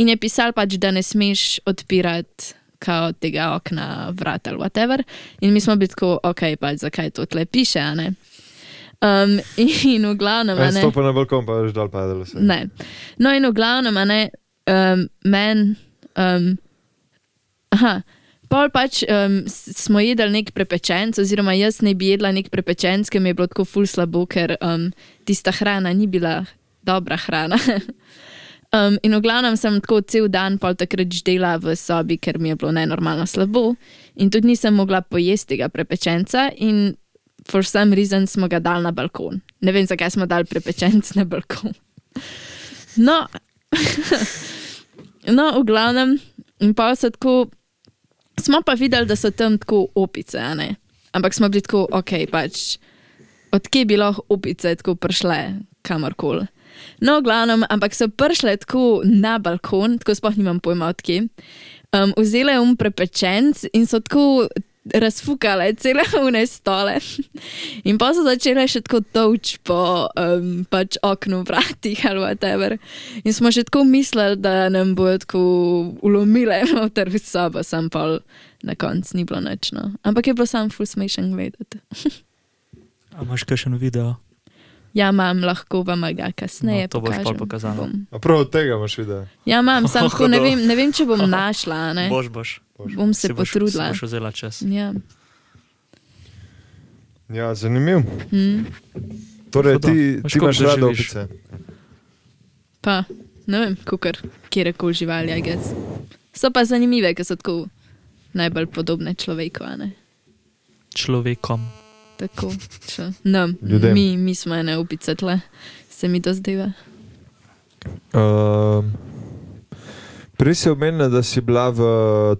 S4: In je pisal pač, da ne smeš odpirati kao tega okna, vrat ali whatever. In mi smo bili tako, ok, pač zakaj to tle piše, a ne. Um, in v glavnem, No, a
S2: En
S4: ne.
S2: Eh, stopa na balkon, pa veš, dal padalo se.
S4: Ne. No, in v glavnem, a ne, um, meni. Um, aha. Pol pač um, smo jedli nek prepečenc, oziroma jaz ne bi jedla nek prepečenc, ker mi je bilo tako ful slabo, ker um, tista hrana ni bila dobra hrana. um, in v glavnem sem tako cel dan pol takrat ždela v sobi, ker mi je bilo nenormalno slabo in tudi nisem mogla pojesti tega prepečenca in for some reason smo ga dali na balkon. Ne vem, zakaj smo dali prepečenc na balkon. No, no v glavnem, in pa so tako, smo pa videli, da so tam tako opice, a ne? ampak smo bili tako, ok, pač odkje bi lahko opice tako prišle kamorkoli. No, v glavnem, ampak so prišle tako na balkon, tako sploh nimam pojma odkje. Um, vzele um prepečenc in so tako razfukale cele une stole. In pa so začele še tako toč po um, pač oknu, vratih ali whatever. In smo že tako mislili, da nam bojo tako ulomile noter v sobo, sam pa na koncu ni bilo noč. No. Ampak je bilo sam ful smešen gledati.
S3: A imaš kakšen video?
S4: Ja, imam, lahko vam ga kasneje.
S3: No, to boš pol
S4: pokažem.
S3: pokazala.
S4: Bom.
S2: A prav od tega imaš video.
S4: Ja, imam, samo tako ne
S3: Hudo.
S4: vem, ne vem, če bom našla. a Ne?
S3: Boš, boš.
S4: Bom se
S3: Si boš-
S4: potrudila.
S3: si Boš vzela čas.
S4: Ja.
S2: Ja, zanimiv.
S4: Mm.
S2: Torej,
S3: Hudo.
S2: ti,
S3: Veš,
S2: ti imaš
S3: koliko
S2: rada
S3: doživiš?
S2: opice.
S4: Pa, ne vem, kukar, kjer je kol živali, a gess. So pa zanimive, ker so tako najbolj podobne človeku, a ne.
S3: Človekom.
S4: Tako, čo, no,
S2: Ljudem.
S4: mi, mi smo ena upica tle, se mi to zdeva.
S2: Um, prej si omenila, da si bila v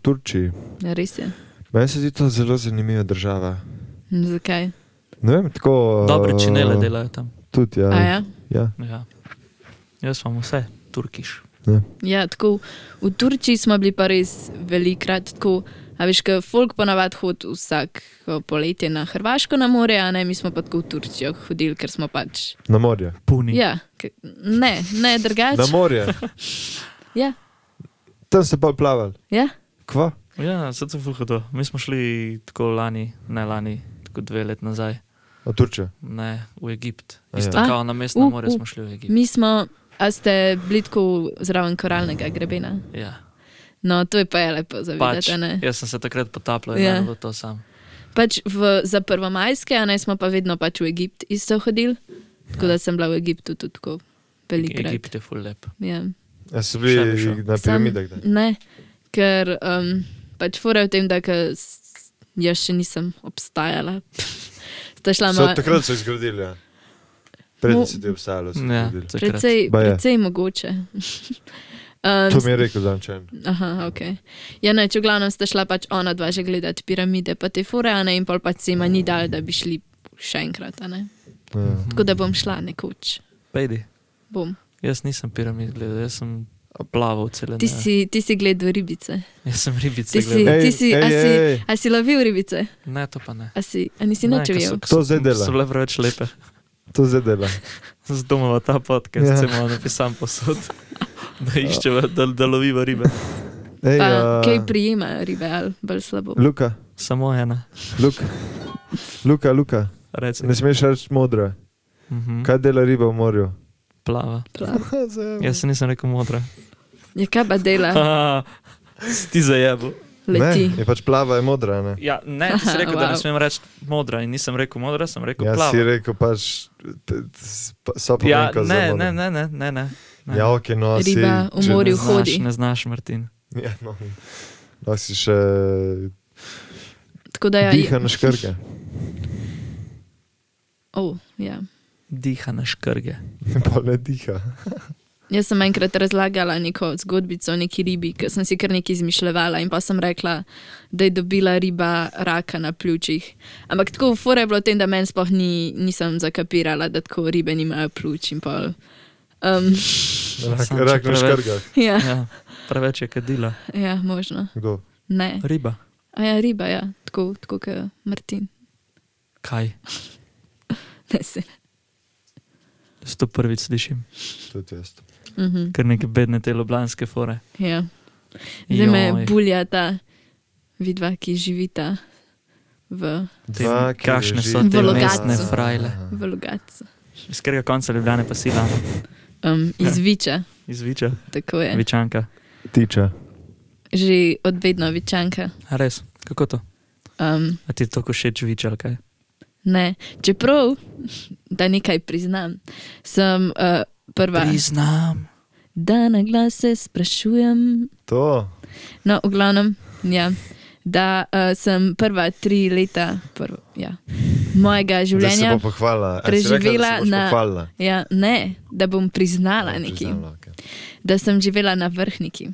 S2: Turčiji.
S4: Ja, res je.
S2: Meni se zdi to zelo zanimiva država.
S4: Hm, Zakaj?
S2: Ne vem, tako.
S3: Dobre
S2: eh,
S3: činele delajo tam.
S2: Tudi,
S4: A
S2: ja.
S4: ja?
S2: ja.
S3: Ja. Jaz imam vse, turkiš.
S4: Ja, tako v Turčiji smo bili pa res velikrat tako. A veš, kaj folk ponavadi hodi vsak poletje na Hrvaško na more, a ne mi smo pa tako v Turčijo hodili, ker smo pač.
S2: Na morje.
S3: Puni.
S4: Ja, ke- ne, ne
S2: Na
S4: drugače.
S2: morje.
S4: Ja,
S2: Tam se pa plaval.
S4: ja,
S2: Kva?
S3: Ja, se to fuhudo. Mi smo šli tako lani, ne lani, tako dve let nazaj,
S2: Na Turčijo.
S3: ne v Egipt.
S2: A ja.
S3: Isto
S4: A,
S3: kao na mestno
S4: u,
S3: more
S4: u.
S3: smo šli v Egipt.
S4: mi smo, a ste bili tako zraven koralnega grebena.
S3: Ja.
S4: No, to je pa je lepo za
S3: Pač,
S4: videti. a ne?
S3: jaz sem se takrat potapljal
S4: Ja.
S3: in naredil to sam.
S4: Pač v, za prvomajske, a ne smo pa vedno pač v Egipt isto hodili, tako da sem bila v Egiptu tudi tako velikrat.
S3: Egipt je full lep.
S4: Ja.
S2: Ja, so
S3: Še bi šel.
S2: bili na
S4: Sam-
S2: piramidah. kdaj?
S4: Ne, ker um, pač fora je v tem, da ke s- jaz še nisem obstajala. Sta šla
S2: So,
S4: moja.
S2: takrat so jih zgradili. Ja.
S4: Mo-
S2: Predtem si ti obstajalo. Ja.
S3: Ja, takrat.
S4: Precej,
S2: Baje.
S4: precej mogoče. um,
S2: To mi je rekel Dančen.
S4: Aha, ok. Ja, ne, če v glavnem sta šla pač ona dva že gledati piramide, pa te fore, a ne, in pol pač se jima ni dal, da bi šli še enkrat, a ne.
S2: Ja.
S4: Tako da bom šla nekoč.
S3: Pejdi.
S4: Bom.
S3: Jaz nisem piramid gledal, jaz sem plaval celo
S4: Ti, si, ti si gledal ribice.
S3: Jaz sem ribice
S4: Ti si,
S3: gledal.
S2: Ej,
S4: ti si, a
S2: ej,
S4: si,
S2: ej, ej.
S4: a si lovil ribice?
S3: Ne, to pa ne.
S4: A si, a nisi
S3: Ne,
S4: nič
S3: ker so-
S4: videl?
S3: ker
S2: To
S3: so-
S2: zdaj dela.
S3: So bile preveč lepe.
S2: To zdaj dela.
S3: Zdomova ta podcast,
S2: Ja.
S3: ja. se mu napisam posod, da iščeva, da, da loviva ribe.
S2: Ej, ja.
S4: Pa,
S2: a,
S4: kaj prijema ribe ali bolj slabo?
S2: Luka,
S3: Samo ena,
S2: Luka, Luka, Luka.
S3: reci.
S2: ne smeš reči modra.
S3: Mhm.
S2: Kaj dela riba v morju?
S3: Plava.
S4: Plava.
S3: Jaz se nisem rekel modra.
S4: Ja, kaj pa dela,
S3: Ah, si ti zajebo.
S4: leti.
S2: Ne, je pač plava je modra. Ne?
S3: Ja, ne, ti si rekel, wow. da ne
S4: Wow.
S3: smem reči modra in nisem rekel modra, sem rekel
S2: Ja, si
S3: plava.
S2: rekel pač, t- t- s- pa- so pa
S3: Ja,
S2: veliko
S3: ne, ne, ne, ne, ne, ne. ne.
S2: Ja, ok, no, si,
S4: Riba
S2: če-
S4: v morju.
S3: ne znaš,
S4: hodi.
S3: ne znaš, Martin.
S2: Ja, no, no si še
S4: Tako da ja,
S2: diha na škrke.
S4: oh, ja.
S3: Diha na škrge.
S2: Pa ne diha.
S4: Jaz sem enkrat razlagala neko zgodbico o neki ribi, ki sem si kar nekaj izmišljala in pa sem rekla, da je dobila riba raka na pljučih. Ampak tako fora je bilo v tem, da meni sploh ni, nisem zakapirala, da tako ribe nimajo pljuč in pol. Um,
S2: Rak,
S3: Samo, če
S2: rak na
S3: preveč-
S2: škrkah.
S4: ja,
S3: Ja, preveč je kadila.
S4: ja, možno.
S2: Kdo?
S4: Ne.
S3: Riba.
S4: A ja, riba, ja. tako, tako kot Martin.
S3: Kaj?
S4: Ne, se.
S3: Jaz to prvič slišim,
S2: Tudi jaz.
S4: Mhm.
S3: ker neke bedne te ljubljanske fore.
S4: Ja. Zdaj me
S3: Joj.
S4: bulja ta vidva, ki živita v,
S3: Te-
S2: Dva, ki
S3: kakšne so
S2: leži-
S4: te V logatcu. mestne
S3: frajle?
S4: v Logacu.
S3: Iz katerega konca Ljubljana pa sila,
S4: Um,
S2: Ja.
S4: iz Viča,
S3: iz Viča,
S4: tako je.
S3: Vičanka.
S2: Tiča.
S4: Že od vedno Vičanka.
S3: A res, kako to?
S4: Um,
S3: A ti je to všeč Vič ali kaj?
S4: ne. Čeprav, da nekaj priznam, sem uh, prva.
S3: Priznam.
S4: Da na glas se sprašujem.
S2: To.
S4: No, v glavnem, ja, da uh, sem prva tri leta prvo, ja, mojega
S2: Zdaj se
S4: življenja.
S2: bo pohvalila. A si rekla, da se
S4: preživela
S2: boš
S4: na-
S2: Pohvalila.
S4: Ja, ne, da bom priznala
S2: Ja,
S4: nekaj.
S2: priznala, okej.
S4: da sem živela na vrhniki.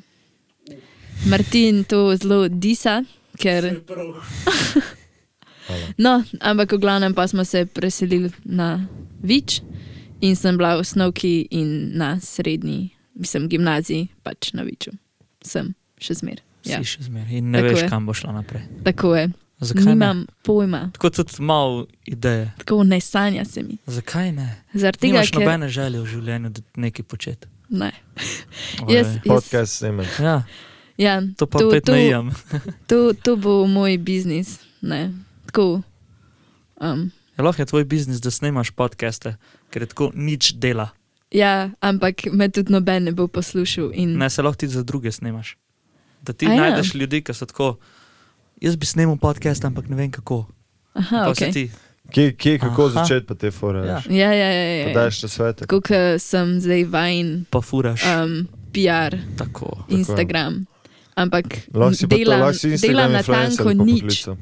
S4: Martin to zelo disa, ker.
S2: Hvala.
S4: No, ampak v glavnem pa smo se preselili na Vič in sem bila v osnovki in na srednji, mislim, gimnaziji, pač na Viču. Sem še zmer.
S3: Ja.
S4: Ja,
S3: Si še zmeraj in ne Tako
S4: Tako
S3: veš,
S4: je.
S3: je. kam bo šla naprej.
S4: tako je.
S3: Zakaj ne?
S4: Nimam pojma,
S3: Tako tudi malo ideje.
S4: tako ne sanja se mi.
S3: Zakaj ne?
S4: Zaradi
S3: Ti
S4: tega,
S3: imaš
S4: ker
S3: nobene želje v življenju, da nekaj početi.
S4: ne.
S3: Ojej.
S4: Jaz, jaz,
S2: Podcast snemem.
S3: Ja,
S4: ja,
S3: to pa
S4: To-
S3: spet
S4: to-
S3: ne jem.
S4: to, to bo moj biznis. Ne. Tako. Um,
S3: Ja, lahko je tvoj biznis, da snemaš podcaste, ker je tako nič dela.
S4: Ja, ampak me tudi noben ne bo poslušal. In...
S3: Ne, se lahko ti za druge snemaš. Da ti
S4: Mm. A ja.
S3: ja. najdeš ljudi, ki so tako. Jaz bi snemal podcast, ampak ne vem kako.
S4: Aha,
S3: Pa si
S4: okay.
S3: ti.
S2: Kje, kje kako
S3: Aha.
S2: začeti pa te fore?
S3: Ja.
S2: Ja.
S4: Ja, ja, ja. ja, ja.
S2: Daš na svete.
S4: Tako kot sem zdaj vajen
S3: Pa furaš. Um,
S4: um, PR,
S3: tako.
S4: Instagram. Ampak
S2: Lahko si pa to,
S4: delam,
S2: lahko si Instagram
S4: delam na tanko
S2: influencer po
S4: nič.
S2: poklicu.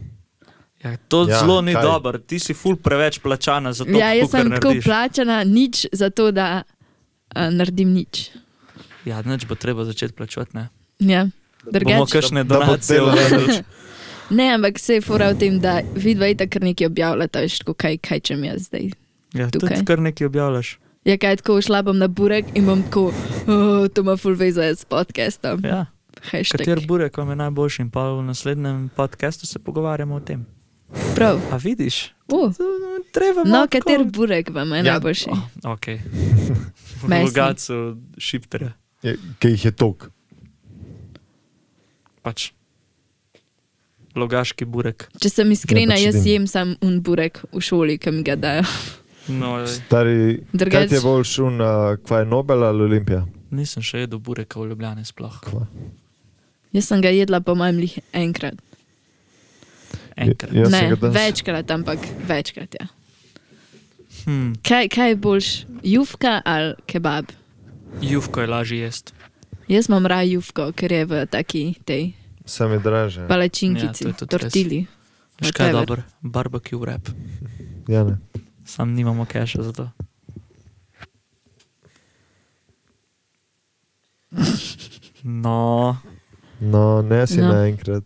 S3: Ja, to
S2: Ja,
S3: ja, zelo ni
S2: kaj?
S3: dobro, ti si ful preveč plačana za to,
S4: Ja, jaz
S3: kar
S4: sem tako
S3: narediš.
S4: plačana, nič za to, da uh, naredim nič.
S3: Ja, nič bo treba začeti plačati. Ne,
S4: Ja.
S3: bomo
S4: Drugače.
S3: kakšne
S2: Da bo
S3: donacije
S2: celo-
S3: uvedli.
S4: Ne, ampak se je fora v tem, da vidva itak kar nekaj objavljata, veš, tako kaj, kaj čem jaz zdaj.
S3: Ja,
S4: Tukaj.
S3: tudi kar nekaj objavljaš.
S4: Ja, kaj tako šla bom na burek in bom tako, oh, to ima full veze s podcastom.
S3: Ja.
S4: Hashtag.
S3: Kater burek vam je najboljši in pa v naslednjem podkastu se pogovarjamo o tem.
S4: Prav.
S3: A vidiš?
S4: Uh.
S3: To, Treba
S4: No,
S3: malo tako-
S4: kater burek vam je
S2: Ja.
S4: najboljši?
S3: Oh, ok.
S4: Mesni.
S3: Rogacu, šipterja.
S2: Je- Ker jih je tok.
S3: Pač. Logaški burek.
S4: Če sem iskrena,
S2: Ja, pač
S4: jaz
S2: edini.
S4: jem sam un burek v šoli, ki mi ga dajo.
S3: No, ej,
S2: Stari, kaj ti je
S4: Drugače,
S2: bolj šun, uh, kva je Nobel ali Olimpija?
S3: nisem še jedel bureka v Ljubljani sploh.
S2: Kva?
S4: jaz sem ga jedla po mojem lih enkrat.
S3: Enkrat.
S2: Jaz sem
S4: ne,
S2: ga danes-
S4: večkrat, ampak večkrat. Ja.
S3: Hm,
S4: Kaj, kaj je boljš, jufka ali kebab?
S3: juvko je lažje jesti.
S4: Jaz imam raje jufko, ker je v taki tej
S2: Sam je draže.
S4: palačinkici,
S3: Ja, to
S4: ja,
S3: je tudi res.
S4: tortili.
S3: Veš kaj je
S4: Whatever.
S3: dobro? Barbecue rap.
S2: Ja, ne.
S3: Sam nimamo keša za to. No,
S2: No, ne si
S4: No.
S2: no. naenkrat.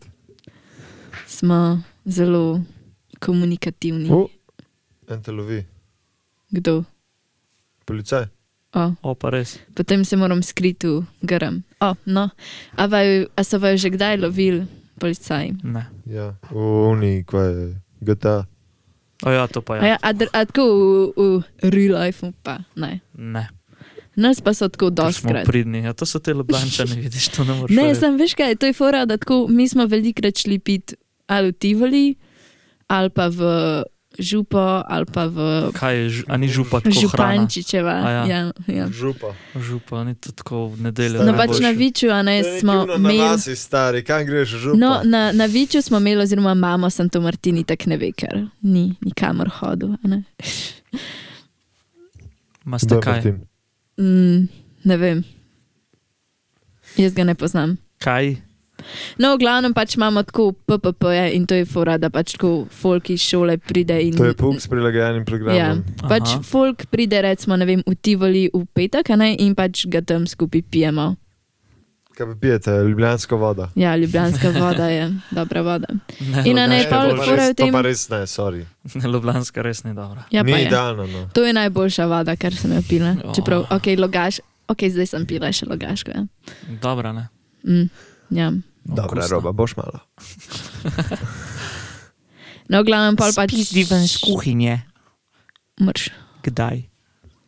S4: Smo zelo komunikativni.
S2: U, En te lovi,
S4: Kdo?
S2: policaj.
S4: O,
S3: opa res.
S4: potem se moram skriti v grm. O, no. A, vaju, a so vaju že kdaj lovili policaji?
S3: Ne.
S2: Ja, v Uniji, kva je GTA.
S3: O ja, to pa
S4: A,
S3: je.
S4: ja, a, dr- a tako v, v real lifeu pa ne.
S3: Ne,
S4: Nas pa so tako
S3: ker smo
S4: doskrat.
S3: pridni. Ja, to so te ljubljančani, vidiš, to ne moreš.
S4: Ne,
S3: verjeti.
S4: sem veš kaj, to je fora, da tako mi smo velikrat šli pit ali v Tivoli, ali pa v Župo, ali pa v
S3: Kaj je, žu- a ni župa tako hrana?
S4: Župančičeva.
S3: A ja.
S4: Ja, ja.
S2: Župa.
S3: Župa ni to tako v nedeljo.
S4: No,
S2: najboljše.
S4: pač na Viču, a ne, smo
S2: Na
S4: imeli.
S2: vasi, stari, kam greš, župa?
S4: No, na, na Viču smo imeli, oziroma mamo sem to Martini tako ne ve, ker ni nikamor hodil. a Ne?
S2: Kdo je
S3: Maste kaj?
S2: Martin?
S4: Mm, ne vem. Jaz ga ne poznam.
S3: Kaj?
S4: No, v glavnem pač imamo tako PPP-je in to je fora, da pač tako folk iz šole pride in.
S2: To je puk s prilagojenim programom. Ja.
S3: Aha.
S4: Pač folk pride, recimo, ne vem, v Tivoli v petek, a ne, in pač ga tam skupaj pijemo.
S2: Kaj pa pijete, ljubljansko voda.
S4: Ja, ljubljanska voda je dobra voda.
S3: Ne,
S4: In a ne,
S3: Ljubljanska
S4: pol-
S2: to, pa
S3: je boljša.
S4: fora je
S2: res,
S4: v
S2: to
S4: tem-
S2: pa res ne, sorry.
S3: Ne, Ljubljanska res ni dobra.
S4: Ja, pa
S2: Ni
S4: je.
S2: idealno. No.
S4: To je najboljša voda, kar sem jo pila.
S3: Ja.
S4: Čeprav,
S2: Oh.
S4: ok, logaš, ok, zdaj sem pila še logaško. Ja.
S3: Dobra, ne.
S4: Mm, ja.
S2: Dobra,
S3: Okusna.
S2: roba, boš malo.
S4: No, v glavnem pol pač.
S3: kuhinje.
S4: Mrš.
S3: Kdaj?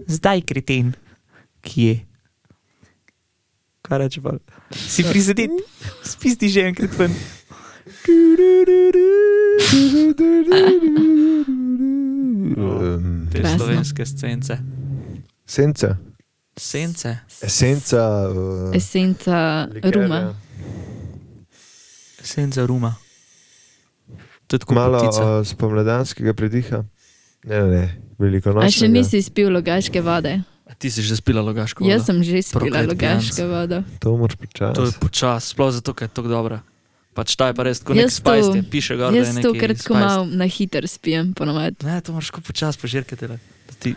S3: Zdaj, kreten. Kje? Kaj reče pa? Si prizadet, spisti že enkrat ven.
S4: Mm.
S3: No,
S2: Um,
S3: Te
S4: Krasno.
S3: slovenske scence.
S2: senca.
S3: Sence.
S2: Esenca. Uh,
S4: Esenca ruma.
S3: Senca ruma. To je tako
S2: Malo
S3: malo.
S2: uh, spomladanskega prediha. Ne, ne, ne, veliko
S4: A
S2: noč.
S4: še nisi spil logaške vode?
S3: Ti si že spila logaško. vodo?
S4: Jaz sem že spila
S3: Proklet
S4: logaško
S3: pijanc.
S4: vodo.
S2: To moraš
S3: To je
S2: počasi.
S3: počas, sploh zato, ker je tako dobra. Pač ta je pa res tako nek
S4: Jaz to-
S3: spajst, je, piše gor, da je
S4: Jaz
S3: nek
S4: to kratko malo na hiter spijem, ponovadi.
S3: Ne, to moraš kot počas požirkati, da ti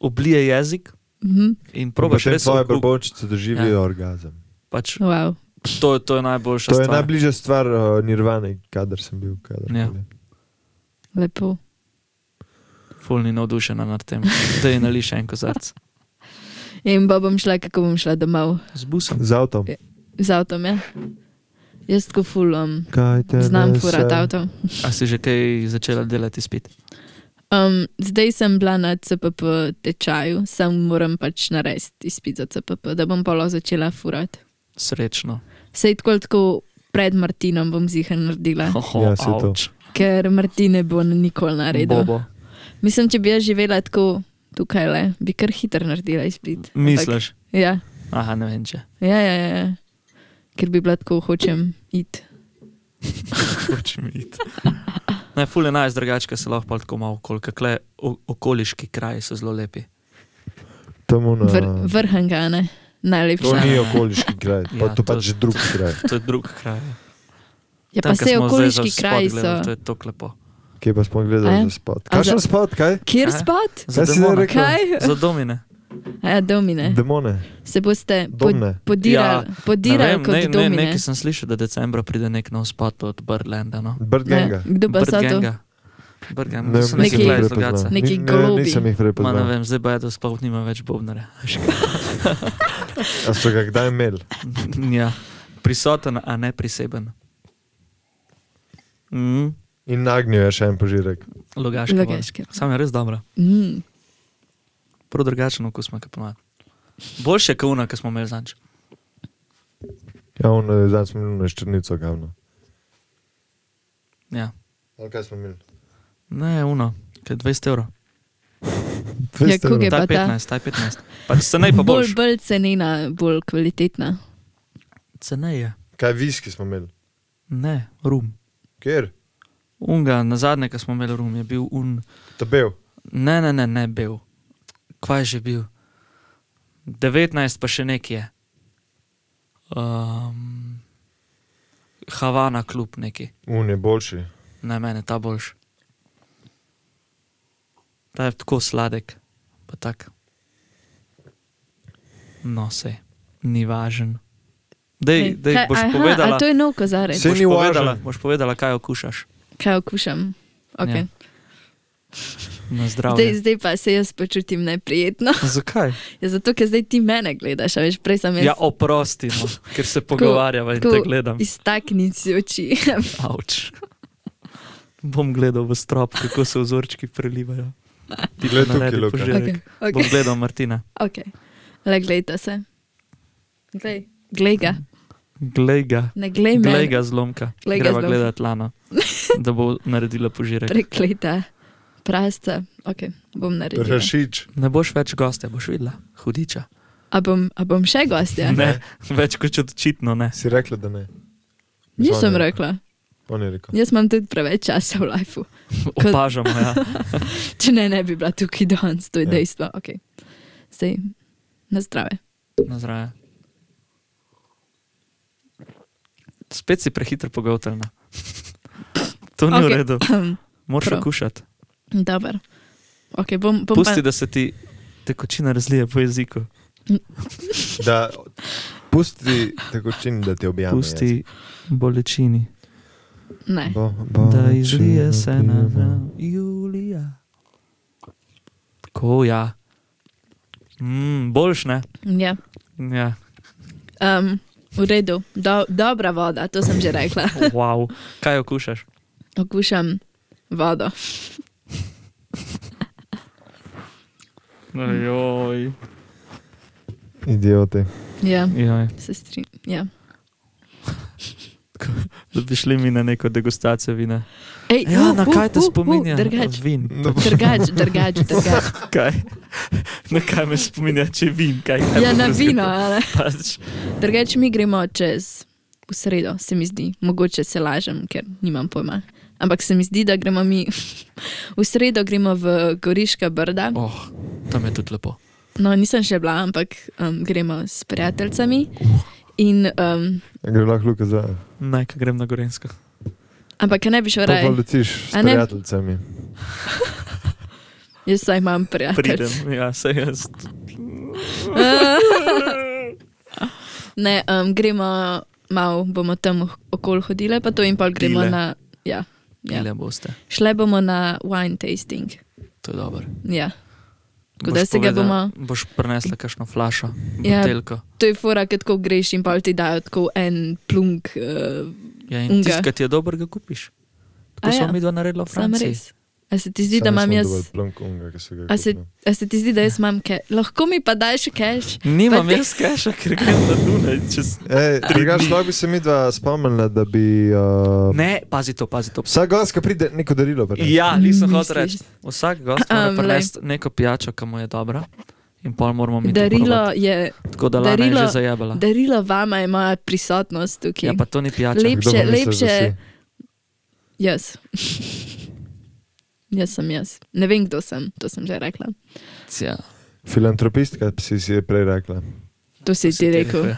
S3: oblije jezik
S4: Mhm.
S3: in probaš res
S2: svoje
S3: okrog.
S2: brbončice doživijo
S3: Ja.
S2: ja. orgazem.
S3: Pač,
S4: Wow.
S3: to, to je najboljša
S2: To je
S3: stvar.
S2: najbližja stvar uh, nirvani, kadar sem bil. Kadar
S3: Ja.
S4: Lepo.
S3: Fulni navdušena nad tem, da je nali še en kozarc.
S4: In pa bom šla, kako bom šla domov
S3: Z busom.
S2: Z avtom.
S4: Ja. z avtom. Ja? Jaz tako fulam,
S2: Kaj te
S4: znam
S2: nese?
S4: furati avto.
S3: A si že kaj začela delati spet?
S4: Um, zdaj sem bila na CPP tečaju, sam moram pač narediti izpit za CPP, da bom polo začela furati.
S3: Srečno.
S4: Sej tako, ali tako pred Martinom bom zihar naredila,
S3: Oho,
S2: Ja, saj to.
S3: avč.
S4: ker Martin ne bo nikoli naredil.
S3: Bobo.
S4: Mislim, če bi jaz živela tako tukaj, le, bi kar hitro naredila izpit.
S3: Misliš?
S4: Ja,
S3: Aha, ne vem če.
S4: ja, ja, ja, ja. ker bi bila tako, hočem iti.
S3: Hočem iti. Ne, ful je najs drugačka se lahko pol tako malo okolka. Kle o- okoliški kraji so zelo lepi.
S2: Tam na
S4: Vr vrhangane,
S2: To
S4: najlepša.
S2: ni okoliški kraj, pa
S3: Ja,
S2: to
S3: to-
S2: pač drug kraj.
S3: To je drug kraj.
S4: Ja,
S3: Tam, ko
S4: pa se
S3: smo zdaj za
S4: okoliški
S3: spot
S4: kraji
S3: gledali, To
S4: so.
S3: je tako lepo.
S2: Kje pa smo
S4: Aja.
S2: gledali za spot?
S4: A
S2: Kakšen
S4: da-
S2: spot, kaj?
S4: Kjer
S3: Aha.
S4: spat?
S3: Za
S2: Kaj si
S3: demone.
S2: zdaj rekel?
S4: Kaj?
S3: Za domine.
S4: Ja, domine.
S2: Demone,
S4: Se boste pod,
S2: domne.
S4: podirali, ja,
S3: Ne
S4: podirali
S3: vem,
S4: kot
S3: ne, ne,
S4: domine.
S3: nekaj sem slišal, da decembra pride nek nov spot od Birdlanda. No?
S2: Bird
S4: Ne,
S2: Ganga.
S4: Kdo pa so to?
S3: Birdganga. Birdganga.
S2: Ne,
S3: To Ja, so
S2: nisem
S3: neki
S2: jih
S4: Neki-
S3: kraji iz
S2: prepoznal.
S3: Logatca.
S4: Neki
S2: Ni-
S4: golobi.
S2: Ne, nisem jih
S3: Ma ne
S2: prepoznal.
S3: vem, zdaj pa je, da sploh nima več bobnara.
S2: A so ga kdaj imeli?
S3: ja. Prisoten, a ne priseben. Mm,
S2: In nagnil je še en požirek.
S3: Logaška. voda.
S4: Logaška.
S3: Sam je res dobra.
S4: Mm.
S3: Prav drugačen okus ima, kot ponovadi. Boljše kot una, ki smo imeli zanč.
S2: Ja, on, eh, zdaj smo imeli na ščrnico, gavno.
S3: Ja.
S2: Ali kaj smo imeli?
S3: Ne, uno, ki je 20 evrov.
S4: Ja, kako je
S2: evrov.
S3: Ta
S4: pa ta?
S3: 15, ta 15. Pa se naj pa
S4: Bolj,
S3: boljš.
S4: bolj cenena, bolj kvalitetna.
S3: Ceneje.
S2: Kaj viski smo imeli?
S3: Ne, rum.
S2: Kjer?
S3: Unga, na zadnje, ki smo imeli rum, je bil un.
S2: Tebel.
S3: Ne, ne, ne, ne bil. Kvaj je že bil? 19 pa še nekje. Um, Havana klub neki.
S2: Un je boljši.
S3: Na mene ta boljš. Ta je tako sladek, pa tak. No, se, ni važen. Dej,
S4: Ej,
S3: dej,
S4: kaj-
S3: boš
S4: aha,
S3: povedala,
S4: a to je nov kozarec,
S2: Se-
S3: boš
S2: ni važen.
S3: povedala, boš povedala, kaj okušaš.
S4: kaj okušam. Okay.
S3: Ja. Na
S4: Ja, zdaj,
S3: zdravje.
S4: zdaj pa se jaz počutim neprijetno.
S2: No,
S3: Zakaj?
S4: Ja, zato, ker zdaj ti mene gledaš, a veš, prej sem jaz.
S3: Ja, oprosti, no, ker se pogovarjava in
S4: ko-
S3: te gledam.
S4: Iztakni si oči.
S3: Avč. Bom gledal v strop, kako se vzorčki prelivajo. Ti
S2: Glej tukaj, Luka.
S4: okay, okay.
S3: Bom gledal Martina.
S4: okay. Le gledaj se. Glej. Glej ga,
S3: Glej ga.
S4: ne glej me.
S3: Glej ga zlomka.
S4: Glej ga
S3: Greva
S4: zlomka.
S3: gledati Lana, da bo naredila požirek.
S4: Prekleta, prasta. Okay, bom naredila.
S2: Rašič.
S3: Ne boš več gostja, boš videla. Hudiča.
S4: A bom, a bom še gostja?
S3: Ne, več kot očitno ne.
S2: Si rekla, da ne.
S4: Nisem
S2: Zvanil.
S4: rekla. Ja.
S2: On je rekel.
S4: Jaz imam tudi preveč časa v lifeu. Kot-
S3: Opažamo, ja.
S4: Če ne, ne bi bila tukaj danes, to je
S2: Ja.
S4: dejstvo. Okay. Zdaj, na zdrave.
S3: Na zdravje. Spet si prehitro pogotovljena. To ni okay. v
S4: Okej.
S3: redu. Moraš
S4: Prav.
S3: okušati.
S4: Dobar. Okay, bom, bom
S3: Pusti, da
S4: pa...
S3: se ti tekočina razlije po jeziku.
S2: Da, pusti tekočin, da ti objavim.
S3: Pusti bolečini.
S4: Ne.
S2: Bo, bo,
S3: Da izlije se na dan Julija. Tako ja. Mm, boljš ne.
S4: Ja.
S3: Ja.
S4: Um, v redu, Do, dobra voda, to sem že rekla.
S3: Wow. Kaj okušaš?
S4: Okušam vodo.
S3: Joj.
S2: Idioti.
S4: Ja,
S3: Joj.
S4: se strinjam. Ja.
S3: Da bi šli mi na neko degustacijo vina.
S4: Ej,
S3: Ja,
S4: uh,
S3: na
S4: uh,
S3: kaj te
S4: uh, uh,
S3: spominja?
S4: Drgač,
S3: Vin.
S2: No,
S4: drgač, drgač. drgač.
S3: Kaj? Na kaj me spominja, če vin? Kaj, kaj
S4: Ja,
S3: bo
S4: na
S3: drugega?
S4: vino, ali.
S3: Pač,
S4: Drugač mi gremo čez v sredo, se mi zdi. Mogoče se lažem, ker nimam pojma. Ampak se mi zdi, da gremo mi v sredo gremo v Goriška brda.
S3: oh, tam je tudi lepo.
S4: No, nisem še bila, ampak um, gremo s prijateljicami. In, um,
S2: Gre lahko Luka za.
S3: Naj, ko grem na Gorensko.
S4: ampak ne bi šel
S2: Pa
S4: raje.
S2: letiš s
S4: Torej, A ne?
S2: prijateljicami.
S4: Jaz saj imam prijatelje.
S3: Pridem, ja, se jaz.
S4: Ne, um, gremo malo, bomo tam okol hodile, pa to in pol gremo
S3: Pile.
S4: na. Ja, ja.
S3: Ile boste,
S4: Šle bomo na wine tasting.
S3: to je dobro.
S4: Ja. Tako
S3: Boš
S4: da se ga
S3: povedala-
S4: bomo.
S3: Boš prinesla kakšno flašo,
S4: Ja.
S3: buteljko.
S4: To je fora, ker tako greš in pol ti dajo tako en plunk. Uh,
S3: Ja, in
S4: Unga.
S3: tisti, ki ti je dober, ga kupiš.
S4: A
S3: Tako
S4: ja.
S3: smo mi dva naredila v
S4: sam
S3: Franciji.
S4: res. A se ti zdi,
S2: Saj
S4: da imam
S2: nisem
S4: jaz.
S2: dovolj plonk onega, ki se ga je
S4: A se,
S2: kupil.
S4: a se ti zdi, da jaz imam kaj? Lahko mi pa daj še cash.
S3: Nimam
S4: Pa ti-
S3: jaz keša, ker grem na Dunaj. Čez...
S2: Ej, drugače, lahko bi se mi dva spomnila, da bi. Uh,
S3: Ne, pazi to, pazi to.
S2: Vsak gost, ki pride, neko darilo. prine.
S3: Ja, nisem
S4: Misliš?
S3: hotel reči. Vsak gost
S4: Ahem,
S3: mora
S4: glej.
S3: prinesti neko pijačo, ki mu je dobra. In pol moramo mi to
S4: Darilo
S3: probati.
S4: je,
S3: Tako da Lana je
S4: darilo-
S3: že zajebala.
S4: darilo vama je moja prisotnost
S3: Ja,
S4: tukaj.
S3: pa to ni pijača.
S2: Kdo
S4: Lep-
S2: pa
S4: lepše-
S2: misliš, da
S4: lepše-
S2: si?
S4: Jaz. jaz sem jaz. Ne vem, kdo sem, to sem že rekla.
S3: Ja.
S2: Filantropistka si, si je prej rekla.
S4: To si ti rekel.